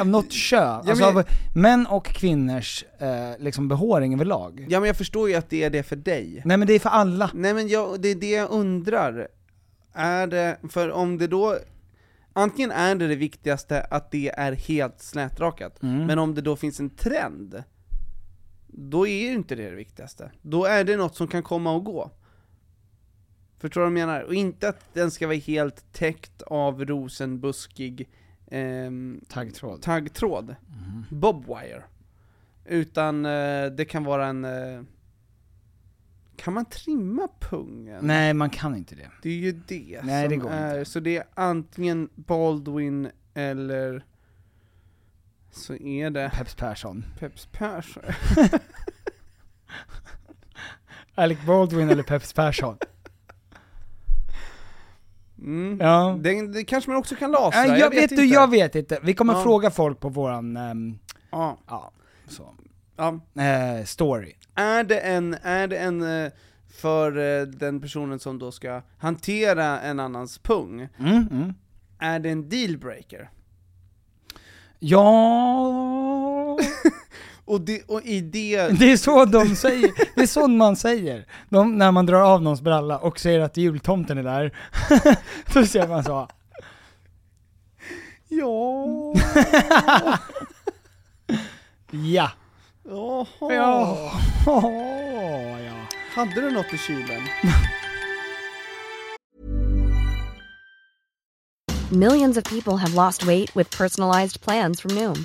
av något kön.
men-
Alltså av män och kvinnors eh, liksom behåring överlag.
ja men jag förstår ju att det är det för dig.
Nej men det är för alla.
Nej men jag, det är det jag undrar. Är det, för om det då, antingen är det det viktigaste att det är helt slätrakat,
Mm.
men om det då finns en trend, då är ju inte det det viktigaste. Då är det något som kan komma och gå. Förstår du vad jag menar? Och inte att den ska vara helt täckt av rosenbuskig ehm,
Taggtråd.
taggtråd,
Mm.
bobwire. Utan eh, det kan vara en... Eh, kan man trimma pungen?
Nej man kan inte det.
Det är ju det
Nej,
som
det går
är,
inte.
så det är antingen Baldwin eller så är det
Peps Persson.
Peps Persson.
Alec Baldwin eller Peps Persson.
Mm.
Ja.
Det, det kanske man också kan lasra,
Nej, jag, vet,
inte.
du, jag vet inte. Vi kommer
Ja.
fråga folk på våran, ehm,
Ja,
ja, så.
ja.
Eh, story.
Är det en, är det en eh, för eh, den personen som då ska hantera en annans pung,
Mm, mm.
är det en dealbreaker?
Ja...
Och, det, och i det...
Det är så de säger, det är så man säger. De, när man drar av någons bralla och säger att jultomten är där, då ser man så.
Ja...
Ja.
Jaha.
Ja. Åh, ja.
Hade du något i kylen?
Millions of people have lost weight with personalized plans from Noom,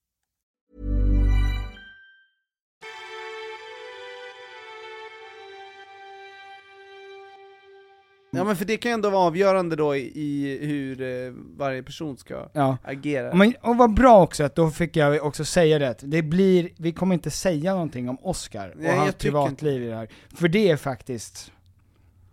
Ja men för det kan ju ändå vara avgörande då i, i hur eh, varje person ska
Ja.
agera.
Men, och vad bra också att då fick jag också säga det, att det blir, vi kommer inte säga någonting om Oscar och
Nej, jag
hans
tycker
privatliv i det här. För det är faktiskt,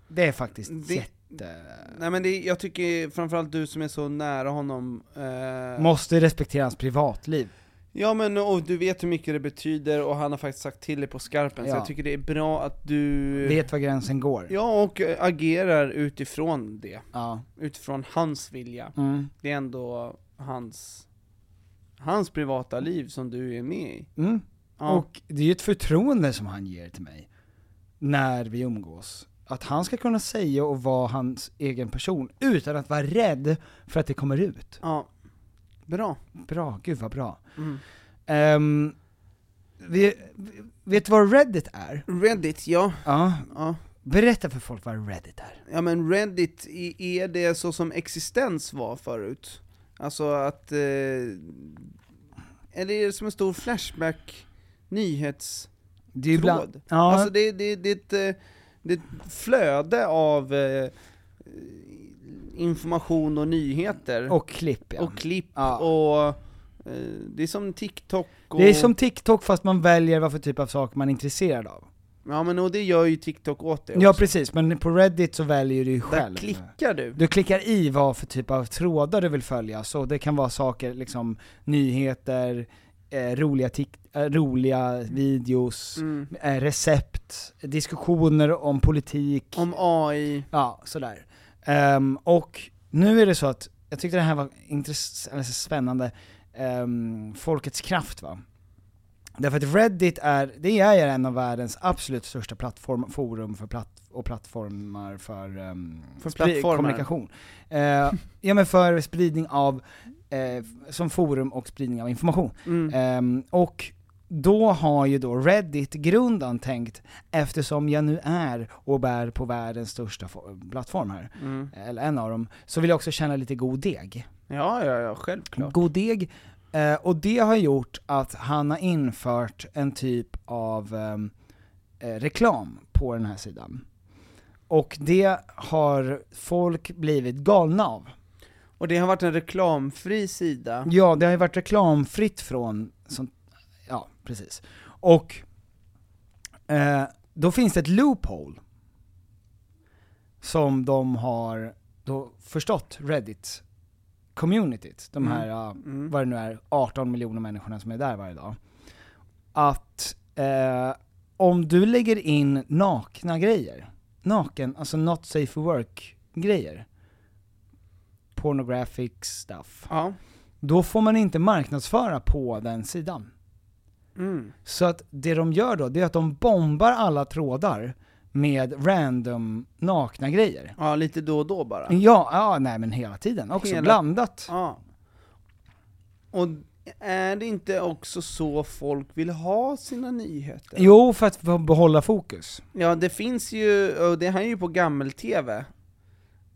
det är faktiskt
Det-
jätte...
Nej men det, jag tycker framförallt du som är så nära honom... Eh,
Måste respektera hans privatliv.
Ja men och du vet hur mycket det betyder och han har faktiskt sagt till dig på skarpen,
Ja.
så jag tycker det är bra att du...
Vet var gränsen går.
Mm. Ja, och eh, agerar utifrån det.
Ja.
Utifrån hans vilja.
Mm.
Det är ändå hans... Hans privata liv som du är med i.
Mm.
Ja.
Och det är ju ett förtroende som han ger till mig, när vi umgås. Att han ska kunna säga och vara hans egen person utan att vara rädd för att det kommer ut.
Ja. Bra.
Bra, gud vad bra.
Mm.
Ehm, vi, vi- vet du vad Reddit är?
Reddit, ja.
Ja.
ja.
Berätta för folk vad Reddit är.
Ja men Reddit, i- är det så som existens var förut? Alltså att... Eh, eller är det som en stor flashback nyhetstråd?
Det är ju bland- ja,
Alltså det, det, det, är ett, eh, det är ett flöde av eh, information och nyheter.
och klipp ja.
och klipp
Ja.
och... Eh, det är som TikTok och...
Det är som TikTok fast man väljer vad för typ av sak man är intresserad av.
Ja men och det gör ju TikTok åt dig
Ja
också.
precis, men på Reddit så väljer du ju
Där
själv.
klickar du.
Du klickar i vad för typ av trådar du vill följa, så det kan vara saker, liksom nyheter, eh, roliga, tik- eh, roliga videos,
Mm.
eh, recept, diskussioner om politik,
Om AI.
ja sådär. Ehm, och nu är det så att, jag tyckte det här var intress- eller så spännande, ehm, Folkets Kraft va? Därför att Reddit är, det är en av världens absolut största plattform, forum för platt, och plattformar för, ehm,
För
spri-
plattformar.
kommunikation. Eh, ja men för spridning av, eh, som forum och spridning av information.
Mm.
Ehm, och då har ju då Reddit-grundaren tänkt, eftersom jag nu är och bär på världens största fo- plattform här,
Mm.
eller en av dem, så vill jag också känna lite god deg.
Ja, ja, ja, självklart.
God deg, eh, och det har gjort att han har infört en typ av ehm, eh, reklam på den här sidan. Och det har folk blivit galna av.
Och det har varit en reklamfri sida.
Ja, det har ju varit reklamfritt från, sånt, ja precis. Och eh, då finns det ett loophole som de har då förstått Reddit communityt, de här, ja,
Mm.
vad det nu är, 18 miljoner människorna som är där varje dag. Att eh, om du lägger in nakna grejer, naken, alltså not safe for work grejer, pornographic stuff, då får man inte marknadsföra på den sidan.
Mm.
Så att det de gör då, det är att de bombar alla trådar med random nakna grejer.
Ja, lite då och då bara.
Ja, ja nej men hela tiden också,
Hela-
blandat.
Ja. Och är det inte också så folk vill ha sina nyheter?
Jo, för att få behålla fokus.
Ja, det finns ju, och det här är ju på gammel-tv,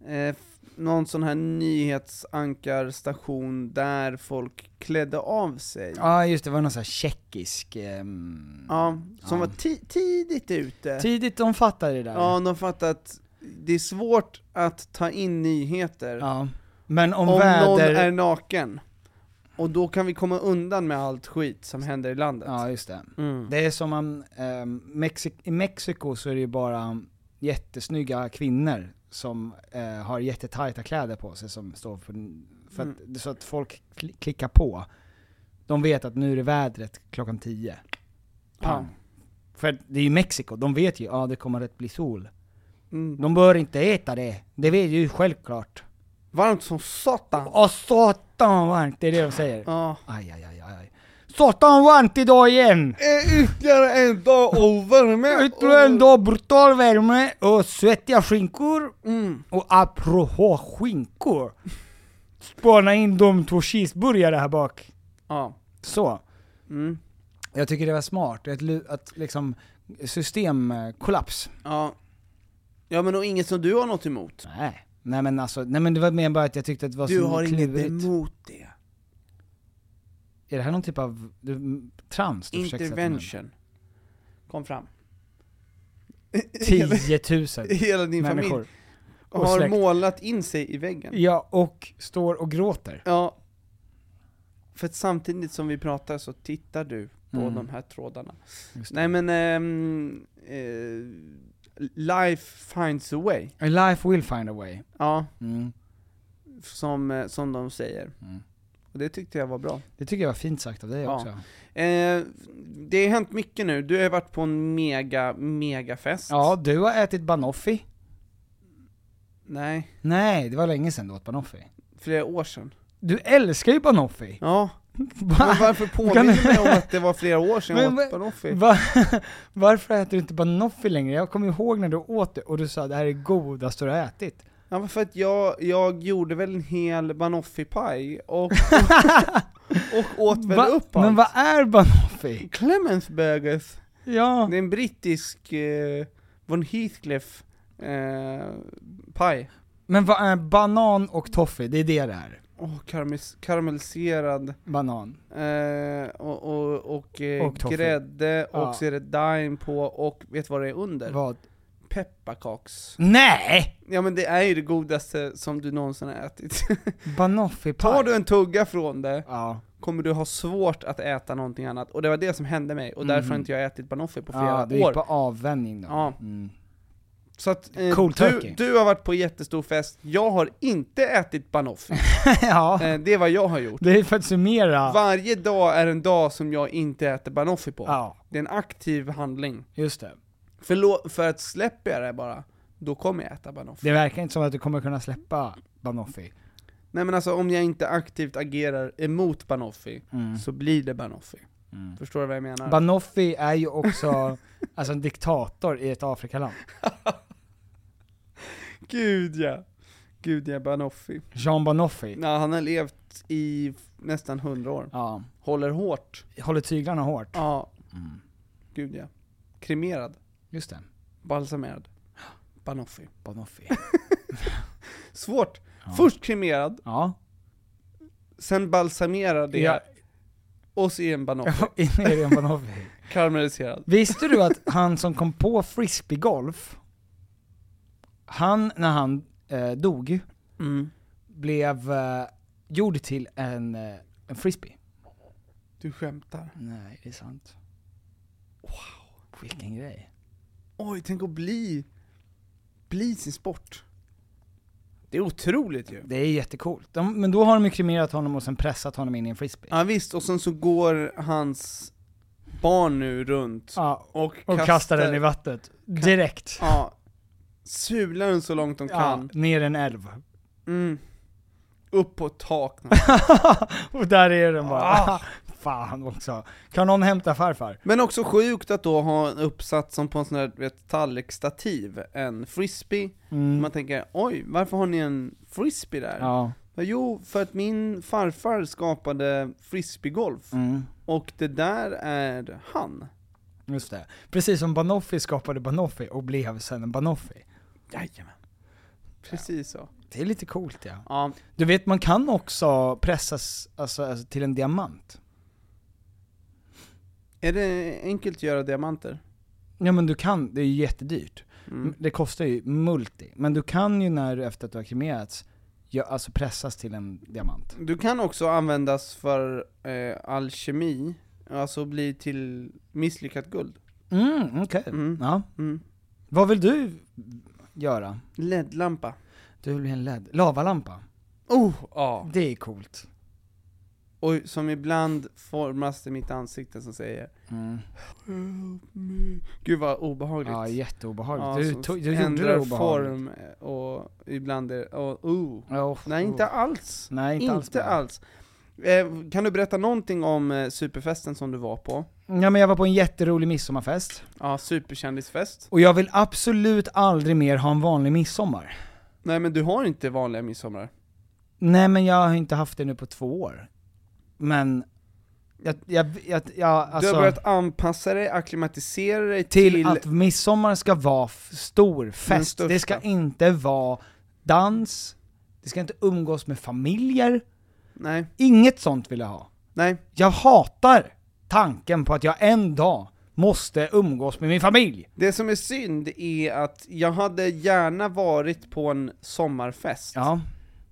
eh, f- någon sån här nyhetsankarstation där folk klädde av sig.
Ja just det, det var någon sån här tjeckisk... ehm,
Ja, som
ja.
var ti tidigt ute.
Tidigt de fattade det där.
Ja, de fattar att det är svårt att ta in nyheter
Ja. Men om,
om någon
väder...
är naken. Och då kan vi komma undan med allt skit som händer i landet.
Ja just det.
Mm.
Det är som man, ehm, Mexi- i Mexiko så är det ju bara jättesnygga kvinnor som eh, har jättetajta kläder på sig som står för, för att,
Mm.
så att folk kli- klickar på. De vet att nu är det vädret klockan 10. Pang. För det är ju Mexiko, de vet ju, ja det kommer att bli sol.
Mm.
De bör inte äta det, det vet ju självklart.
Varmt som satan!
Åh satan varmt, det är det de säger.
Ja.
Aj, aj, aj, aj. Satan varmt idag igen!
Eh, Ytterligare en dag och värme!
Ytterligare en dag brutal värme och svettiga skinkor.
Mm.
Och apropå skinkor. Spana in de två cheeseburgare här bak.
Ja.
Så.
Mm.
Jag tycker det var smart. Att, lu- att liksom eh, systemkollaps.
Ja. ja, men och inget som du har något emot?
Nej. Nej men alltså, nej men det var mer bara att jag tyckte att det var
Du
så
har inget
klurigt.
emot det?
Är det här någon typ av du, trams du försöker sätta mig in i?
Intervention. Kom fram.
10 000
Hela din
människor.
familj
och
har
släkt.
målat in sig i väggen.
Ja, och står och gråter.
Ja. För att samtidigt som vi pratar så tittar du på
Mm.
de här trådarna.
Just det.
Nej men, ehm, eh, life finds a way.
A life will find a way.
Ja,
Mm.
som, eh, som de säger.
Mm.
Och det tyckte jag var bra.
Det tycker jag var fint sagt av dig
Ja.
också.
Eh, det har hänt mycket nu, du har varit på en mega, mega fest.
Ja, du har ätit banoffi.
Nej,
Nej, det var länge sedan du åt banoffi.
flera år sedan.
Du älskar ju banoffi!
Ja,
Va?
men varför
Kan
påminner
du-
du mig om att det var flera år sedan jag
Men-
åt Banoffee?
Va? Varför äter du inte banoffi längre? Jag kommer ihåg när du åt det och du sa det här är godaste du har ätit.
Ja, men för att jag, jag gjorde väl en hel Banoffee-paj och, och åt väl
Va?
upp
Men vad är banoffi?
Clemens Burgers,
Ja,
det är en brittisk eh, von Heathcliff eh, paj.
men vad är banan och toffee? Det är det det är.
Åh, karamis- karamelliserad
Banan.
Eh, och och, och, eh,
Och toffee.
grädde, och
Ja.
så är det daim på, och vet du vad det är under?
Vad?
Pepparkaks.
Nej!
Ja men det är ju det godaste som du någonsin har ätit.
Banoffi
Tar du en tugga från det,
Ja.
kommer du ha svårt att äta någonting annat. Och det var det som hände mig, och därför har
Mhm.
inte jag ätit banoffee på
ja,
flera
du gick
år.
på avvänjning då.
Ja.
Mm.
Så att, eh,
Cool
du,
turkey.
du har varit på jättestor fest, jag har inte ätit banoffee.
ja,
eh, det är vad jag har gjort.
det är för att summera.
Varje dag är en dag som jag inte äter banoffee på.
Ja,
Det är en aktiv handling.
just det.
Förlå- för att släpper jag det bara, då kommer jag äta banoffee.
Det verkar inte som att du kommer kunna släppa Banoffi.
Nej men alltså om jag inte aktivt agerar emot banoffee,
Mm.
så blir det banoffee. Förstår du vad jag menar?
Banoffi är ju också alltså en diktator i ett Afrikaland.
Gud ja! Gud ja, banoffee.
Jean Banoffi.
Nej, han har levt i f- nästan 100 år.
Ja.
Håller hårt.
Håller tyglarna hårt. Mm.
Ja. Gud ja. Kremerad.
Just det.
Balsamerad. Banoffee.
Banoffi.
Svårt! Först kremerad,
Ja.
sen balsamerad det,
Ja.
och så i en banoffee.
In i en Banoffi.
Karamelliserad.
Visste du att han som kom på frisbeegolf, han när han eh, dog, blev eh, gjord till en, eh, en frisbee.
Du skämtar.
Nej, det är sant. Wow. Vilken grej.
Oj, tänk att bli, bli sin sport. Det är otroligt ju.
Det är jättecoolt. De, men då har de ju kremerat honom och sen pressat honom in i en frisbee.
Ja visst, och sen så går hans barn nu runt
Ja,
Alltså, och,
och kastar den i vattnet. Direkt.
Ja, sular den så långt de
Ja,
kan.
ner i en älv.
Mm. Upp på ett tak.
och där är den bara.
Ah.
"Ah, Fan också. Kan någon hämta farfar?
Men också sjukt att då ha en uppsats som på en sån här, du vet, tallriksstativ, en frisbee.
Mm.
Man tänker, oj, varför har ni en frisbee där?
Ja.
Jo, för att min farfar skapade frisbeegolf,
Mm.
och det där är han.
Just det. Precis som Banoffi skapade Banoffi och blev sen en Banoffi.
Jajamän. Precis så.
Det är lite coolt ja.
Ja,
Du vet, man kan också pressas alltså, alltså, till en diamant.
är det enkelt att göra diamanter?
Ja men du kan, det är ju jättedyrt.
Mm.
Det kostar ju multi. Men du kan ju när du efter att du har kremerats, ja, alltså pressas till en diamant.
Du kan också användas för eh, alkemi, alltså bli till misslyckat guld.
Mm, okej.
Mm.
Ja.
Mm.
Vad vill du göra?
LED-lampa.
Du vill bli en LED, lavalampa.
Oh, ja.
Det är coolt.
Och som ibland formas till mitt ansikte som säger
Mm.
"Help me." Gud vad obehagligt.
Ja, jätteobehagligt.
Ja,
du
som
tog- du gjorde
ändrar
det obehagligt.
form eh, och ibland är och, oh.
Ja, och-
Nej inte alls.
Nej, inte,
inte
alls. bra.
alls. Eh, kan du berätta någonting om eh, superfesten som du var på?
Ja, men jag var på en jätterolig midsommarfest.
Ja, superkändisfest.
Och jag vill absolut aldrig mer ha en vanlig midsommar.
Nej men du har inte vanliga midsommar.
Nej men jag har inte haft det nu på två år. Men, jag, jag, jag, jag alltså,
du har börjat anpassa dig, akklimatisera dig
till,
till,
att midsommar ska vara f- stor
Den
fest.
största.
Det ska inte vara dans, det ska inte umgås med familjer.
Nej,
Inget sånt vill jag ha.
nej.
Jag hatar tanken på att jag en dag måste umgås med min familj.
Det som är synd är att jag hade gärna varit på en sommarfest,
Ja,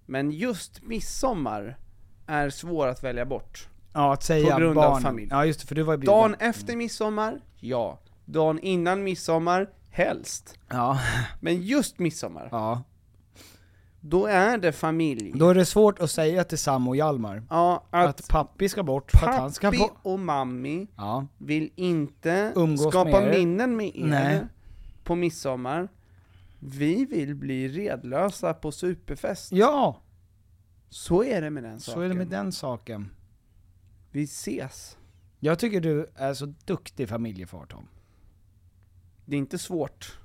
men just midsommar är svår att välja bort.
ja att säga
grund av
barn.
familj.
Ja just det, för du var ju bjuden.
Dagen efter midsommar, ja. Dagen innan midsommar, helst.
Ja,
Men just midsommar,
ja.
då är det familj.
Då är det svårt att säga till Sam och Hjalmar
ja,
att,
att,
pappi ska bort för att han ska
pappi
bort.
och mammi
Ja.
vill inte
Umgås
skapa
med er.
minnen med er
Nej.
på midsommar. Vi vill bli redlösa på superfest.
ja,
Så är det med den
så
saken.
är det med den saken.
Vi ses.
Jag tycker du är så duktig familjefar Tom.
Det är inte svårt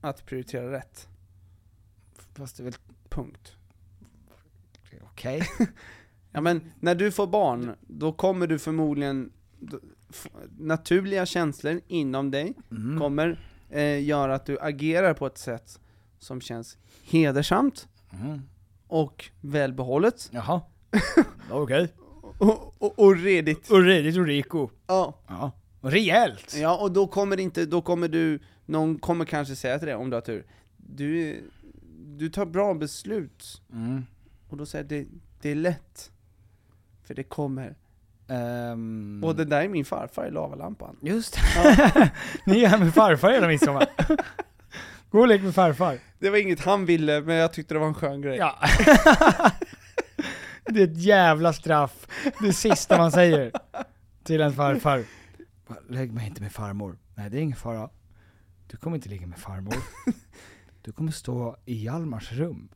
att prioritera rätt.
Fast det är väl
Punkt.
okej?
Ja men, när du får barn, då kommer du förmodligen, då- f- naturliga känslor inom dig
Mm.
kommer eh, göra att du agerar på ett sätt som känns hedersamt
Mm.
och välbehållet
Jaha. okej.
och, och, och redigt.
Och redigt och riko.
Ja.
Ja. Rejält!
Ja, och då kommer det inte, då kommer du, någon kommer kanske säga till dig om du har tur, du, du tar bra beslut,
Mm.
och då säger jag, det, det är lätt. För det kommer.
Mm. Ehm,
Och det där är min farfar i lavalampan.
Just det.
Ja.
Ni är här med farfar hela midsommar. Gå och lek med farfar.
Det var inget han ville, men jag tyckte det var en skön grej.
Ja. det är ett jävla straff. Det sista man säger till en farfar. Bara, Lägg mig inte med farmor. Nej det är ingen fara. Du kommer inte ligga med farmor. Du kommer stå i Hjalmars rum.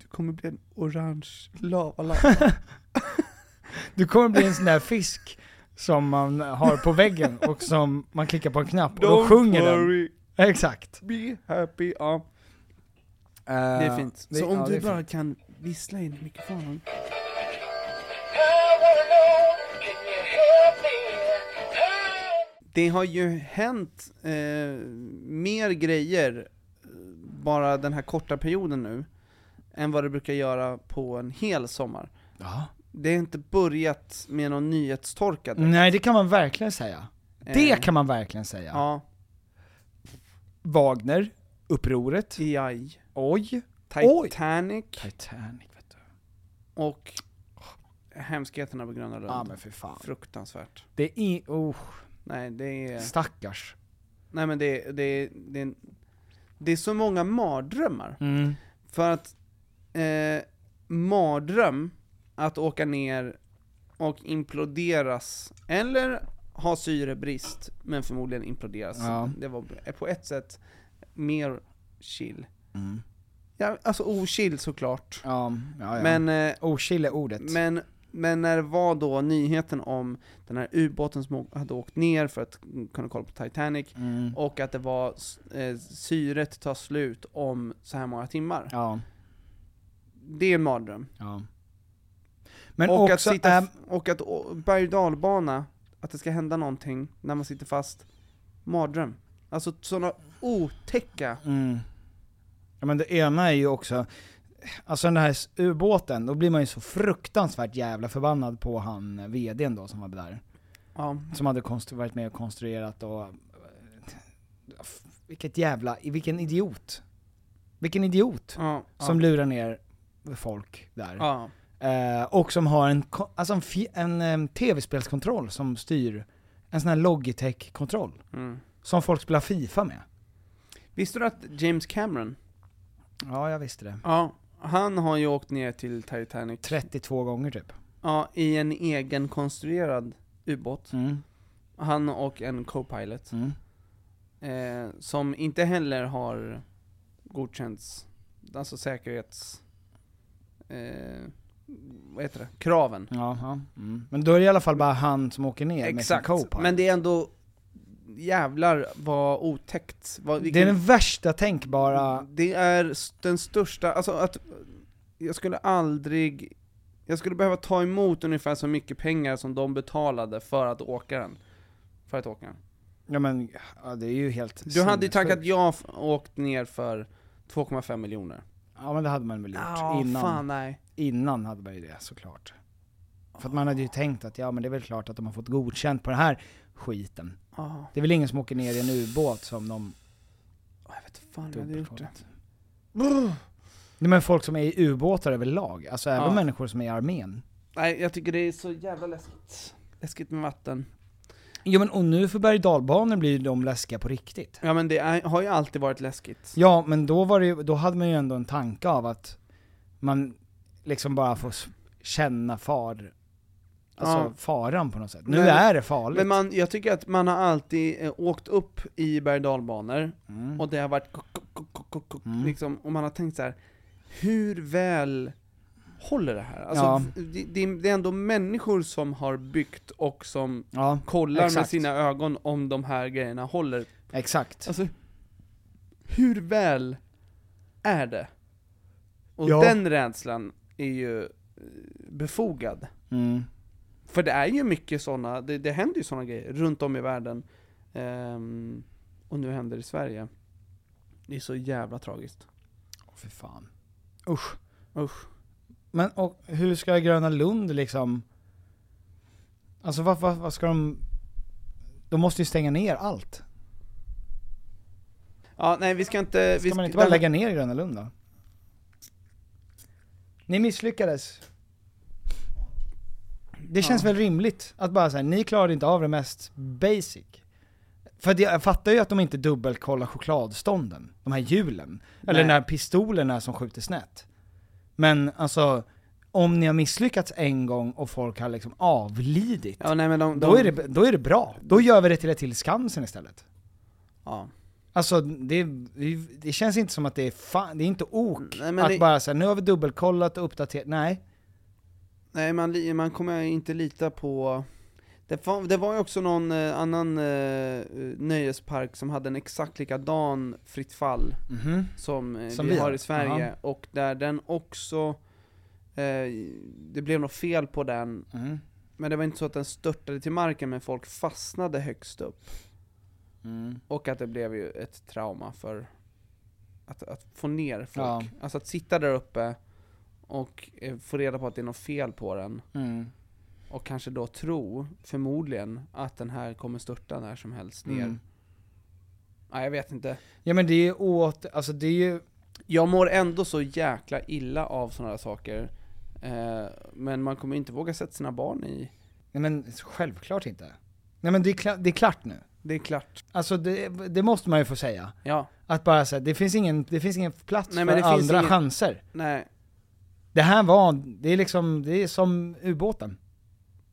Du kommer bli en orange lavalampa.
Du kommer bli en sån där fisk som man har på väggen och som man klickar på en knapp och då sjunger den.
worry,
Exakt.
be happy. Ja, det är fint.
det-
Eh, Så om
Eh, ja, det
du
är
bara kan vissla in i mikrofonen. Det har ju hänt eh, mer grejer eh, bara den här korta perioden nu, än vad det brukar göra på en hel sommar.
Ja.
Det har inte börjat med någon nyhetstorka direkt.
Nej det kan man verkligen säga.
Eh,
Det kan man verkligen säga.
Ja,
Wagner, upproret,
AI.
oj,
Titanic
Titanic vet du.
och hemskheterna på Gröna Lund.
Ja men för fan.
Fruktansvärt.
Det är, oh,
Nej, det är...
stackars.
Nej men det är, det är, det är, det är så många mardrömmar.
Mm.
För att, eh, mardröm att åka ner och imploderas, eller har syrebrist, men förmodligen imploderas.
Ja.
Det var på ett sätt mer chill. Ja, alltså ochill såklart.
Mm. Ja, ja, ja.
Men, eh,
Ochill är ordet.
men, men när det var då nyheten om den här ubåten som å- hade åkt ner för att kunna kolla på Titanic,
Mm.
och att det var s- eh, syret tar slut om så här många timmar.
Ja.
Det är en mardröm.
Ja. Men
och, att
också
sitta,
är-
och att å- berg och dalbana, att det ska hända någonting när man sitter fast, mardröm. Alltså sådana otäcka...
Mm. Ja men det ena är ju också, alltså den här ubåten, då blir man ju så fruktansvärt jävla förbannad på han eh, vdn då som var där.
Ja.
Som hade konstru- varit med och konstruerat och... f- Vilket jävla, vilken idiot. Vilken idiot.
Ja,
som
ja.
lurar ner folk där.
Ja.
Eh, och som har en, ko- alltså en, fi- en, em, tv-spelskontroll som styr, en sån här Logitech-kontroll.
Mm.
Som folk spelar FIFA med.
Visste du att James Cameron,
Ja, jag visste det.
ja, han har ju åkt ner till Titanic,
32 gånger typ.
ja, i en egen konstruerad ubåt.
Mm.
Han och en co-pilot.
Mm.
Eh, som inte heller har godkänts, alltså säkerhets... Eh, vad heter det? Kraven.
Ja, ja. Mm. Men då är det i alla fall bara han som åker ner
Exakt,
med sin co
men det är ändå jävlar vad otäckt. Vad,
Det är den värsta tänkbara...
det är s- den största, alltså att jag skulle aldrig, jag skulle behöva ta emot ungefär så mycket pengar som de betalade för att åka den. För att åka den.
Ja men, ja, det är ju helt
Du hade
sinnessjukt.
ju tackat jag f- åkt ner för 2,5 miljoner.
Ja men det hade man väl gjort
Ja,
innan.
fan nej.
Innan hade man ju det såklart. För att man hade ju tänkt att ja men det är väl klart att de har fått godkänt på den här skiten.
Ja,
Det är väl ingen som åker ner i en ubåt som de
jag vet fan hur jag hade gjort det.
dubbelkollat. Nej men folk som är i ubåtar överlag, alltså även
Ja.
människor som är i armén.
Nej, jag tycker det är så jävla läskigt. Läskigt med vatten.
Jo men och nu för berg och dalbanor blir ju de läskiga på riktigt.
Ja men det är, har ju alltid varit läskigt.
Ja, men då var det ju, då hade man ju ändå en tanke av att man liksom bara får s- känna far, alltså
Ja.
faran på något sätt. Nu
Men-
är det farligt.
Men man, jag tycker att man har alltid eh, åkt upp i berg dalbanor
mm.
och det har varit kuck, kuck, kuck, kuck, kuck, kuck,
Mm.
liksom, och man har tänkt så här. hur väl håller det här? Alltså,
Ja.
det, det, är- det är ändå människor som har byggt och som
Ja,
kollar med
Exakt.
sina ögon om de här grejerna håller.
exakt.
Alltså, hur väl är det? Och
Ja.
den rädslan är ju eh, befogad.
Mm.
För det är ju mycket sådana, det, det händer ju sådana grejer runt om i världen. Ehm, och nu händer det i Sverige. Det är så jävla tragiskt.
Åh, Fy fan. Usch.
Usch.
Men och, hur ska Gröna Lund liksom, alltså vad, vad, vad ska de, de måste ju stänga ner allt.
Ja, nej vi ska inte...
Ska
vi
man
ska-
inte bara lägga ner Gröna Lund då? Ni misslyckades. Det känns
Ja.
väl rimligt att bara säga, ni klarade inte av det mest basic. För att jag fattar ju att de inte dubbelkollar chokladstånden, de här hjulen. Eller
Nej.
de här pistolerna som skjuter snett. Men alltså, om ni har misslyckats en gång och folk har liksom avlidit,
Ja, nej men de... de
då, är det, då är det bra. Då gör vi det till ett till Skansen istället.
Ja.
Alltså det, det, det känns inte som att det är fan, det är inte ok
Nej, men
att
det-
bara säga nu har vi dubbelkollat och uppdaterat, nej.
Nej man, li- man kommer inte lita på... Det, fa- det var ju också någon eh, annan eh, nöjespark som hade en exakt likadan Fritt fall
Mhm.
som, eh,
Som
vi,
vi
har
har.
i Sverige, och där den också... Eh, det blev något fel på den,
Mm.
men det var inte så att den störtade till marken, men folk fastnade högst upp.
Mm.
Och att det blev ju ett trauma för att, att få ner folk.
Ja.
Alltså att sitta där uppe och eh, få reda på att det är något fel på den,
Mm.
och kanske då tro, förmodligen, att den här kommer störta när som helst ner.
Mm.
Nej, jag vet inte.
Ja men det är ju åt, alltså det är ju,
Jag mår ändå så jäkla illa av sådana här saker. Eh, men man kommer inte våga sätta sina barn i.
nej men självklart inte. Nej men det är, kla, det är klart nu.
Det är klart.
Alltså det, det måste man ju få säga.
Ja.
Att bara säga, det finns ingen, det finns ingen plats
Nej,
för
men det finns
andra
ingen-
chanser.
Nej.
Det här var, det är liksom, det är som ubåten.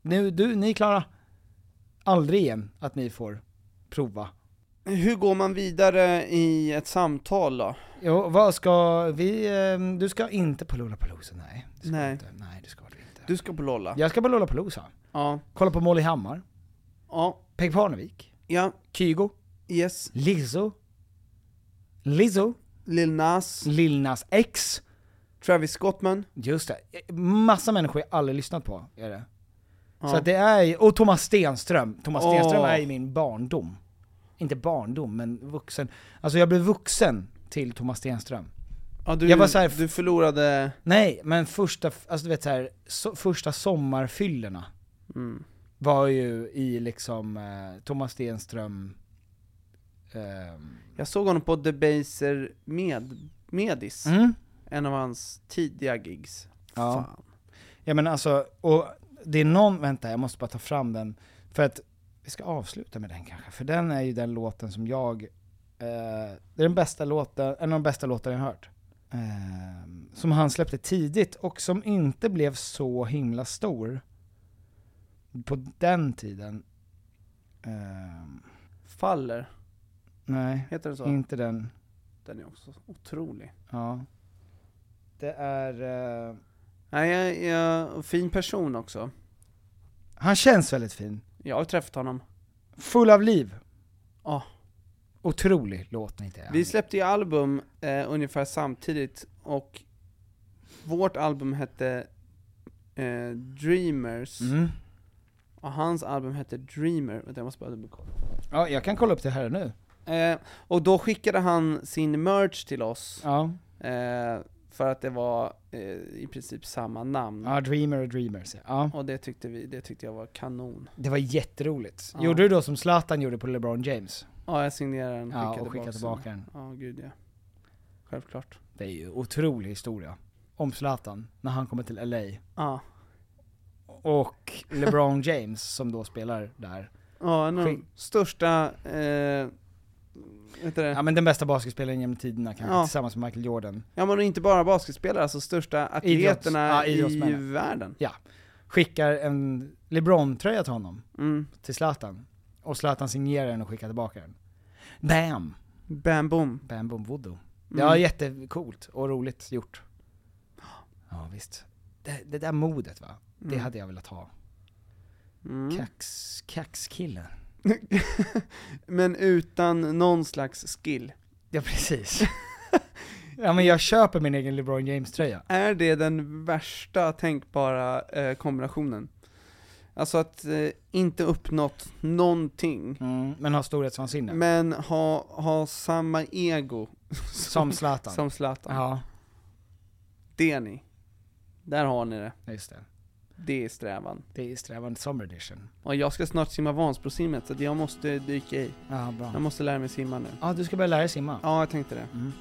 Nu, du, ni är klara. aldrig igen att ni får prova.
Hur går man vidare i ett samtal då?
Jo, vad ska vi, eh, du ska inte på Lollapalooza, nej. Det ska
Nej.
du Inte. Nej, det ska du inte.
Du ska på Lolla?
Jag ska på Lollapalooza.
Ja.
Kolla på Molly Hammar,
Ja.
Peg Parnevik,
Ja.
Kygo,
Yes.
Lizzo, Lizzo,
Lil Nas.
Lil Nas X,
Travis Scottman.
just det. Eh, Massa människor jag aldrig lyssnat på, är det.
Ja.
Så att det är ju- och Thomas Stenström. Thomas
Åh.
Stenström är ju min barndom. Inte barndom, men vuxen. Alltså jag blev vuxen till Thomas Stenström.
ja, du,
jag var så här-
du förlorade...
Nej, men första, alltså du vet så här, so första sommarfyllorna
Mm.
var ju i liksom eh, Thomas Stenström, ehm,
Jag såg honom på Debaser med Medis,
mm?
en av hans tidiga gigs.
Ja.
Fan.
Ja men alltså, och det är någon, vänta jag måste bara ta fram den, för att vi ska avsluta med den kanske, för den är ju den låten som jag, eh, det är den bästa låten, en av de bästa låtarna jag har hört. Eh, som han släppte tidigt och som inte blev så himla stor på den tiden. Eh,
Faller,
nej,
heter det så?
inte den.
Den är också otrolig.
Ja. Det är... Eh,
Nej, jag, jag, fin person också.
han känns väldigt fin.
Jag har träffat honom.
Full av liv.
Ja.
Otrolig låt ni inte är.
Vi släppte ju album eh, ungefär samtidigt, och vårt album hette eh, Dreamers,
Mm.
och hans album hette Dreamer. Vänta, jag måste bara dubbelkolla.
Ja, jag kan kolla upp det här nu.
Eh, och då skickade han sin merch till oss,
Ja,
eh, för att det var eh, i princip samma namn.
ja Dreamer och Dreamers. Ja.
Och det tyckte vi, det tyckte jag var kanon.
Det var jätteroligt.
Ja.
Gjorde du då som Zlatan gjorde på LeBron James?
Ja, jag signerade den,
Ja,
skickade
och skicka
tillbaka
tillbaka den.
den. Ja, gud ja. Självklart.
Det är ju otrolig historia. Om Zlatan, när han kommer till LA.
Ja.
Och LeBron James som då spelar där.
Ja, en av de
Skick-
största, eh, vad heter det?
Ja men den bästa basketspelaren genom tiderna kanske,
Ja.
tillsammans med Michael Jordan.
Ja men och inte bara basketspelare, alltså största atleterna
ja,
i
idrottsmännen.
världen.
Skickar en LeBron-tröja till honom,
Mm.
till Zlatan. Och Zlatan signerar den och skickar tillbaka den. Bam!
Bam boom.
Bam Boom Voodoo.
Mm.
Det var jättecoolt och roligt gjort. Ja visst. Det, det där modet va, det
Mm.
hade jag velat ha.
Mm.
Kax, kaxkillen.
Men utan någon slags skill.
Ja precis. ja men jag köper min egen LeBron James-tröja.
Är det den värsta tänkbara eh, kombinationen? Alltså att eh, inte uppnått någonting,
Mm, Men har storhetsvansinne.
men ha, ha samma ego
Som Zlatan.
som Zlatan.
Ja,
Det är ni. Där har ni det.
just det.
Det är strävan.
Det är strävan Summer Edition.
Och jag ska snart simma Vansbrosimmet så att jag måste dyka i.
Ja,
Jag
bra.
måste lära mig simma nu.
Ja, du ska börja lära dig simma.
Ja, jag tänkte det.
Mm.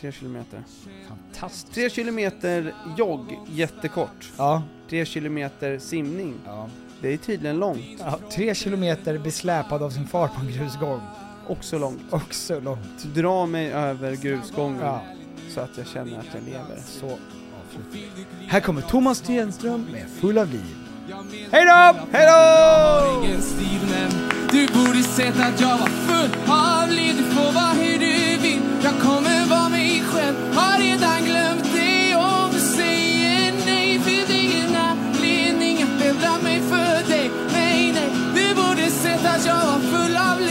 Tre kilometer.
Fantastiskt.
Tre kilometer jogg, jättekort.
Ja,
Tre kilometer simning,
ja.
det är tydligen långt.
ja. Tre kilometer besläpad av sin far på en grusgång.
Också långt.
Också långt.
Dra mig över grusgången
Ja.
så att jag känner att jag lever.
Så avslutar vi. Här kommer Thomas Stenström med Full av liv. Hej då! Hej då!
ingen stil men Du borde sett att jag var full av liv Du får vara hur du vill Jag kommer vara mig själv Har redan glömt dig om du säger nej Finns det ingen anledning att ändra mig för dig Nej, nej Du borde sett att jag var full av liv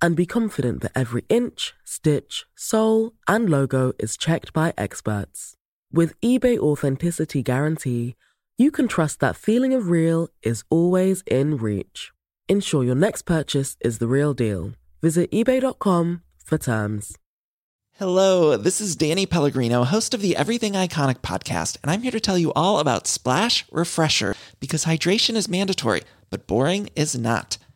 and be confident that every inch, stitch, sole, and logo is checked by experts. With eBay Authenticity Guarantee, you can trust that feeling of real is always in reach. Ensure your next purchase is the real deal. Visit ebay.com for terms.
Hello, this is Danny Pellegrino, host of the Everything Iconic podcast, and I'm here to tell you all about Splash Refresher because hydration is mandatory, but boring is not.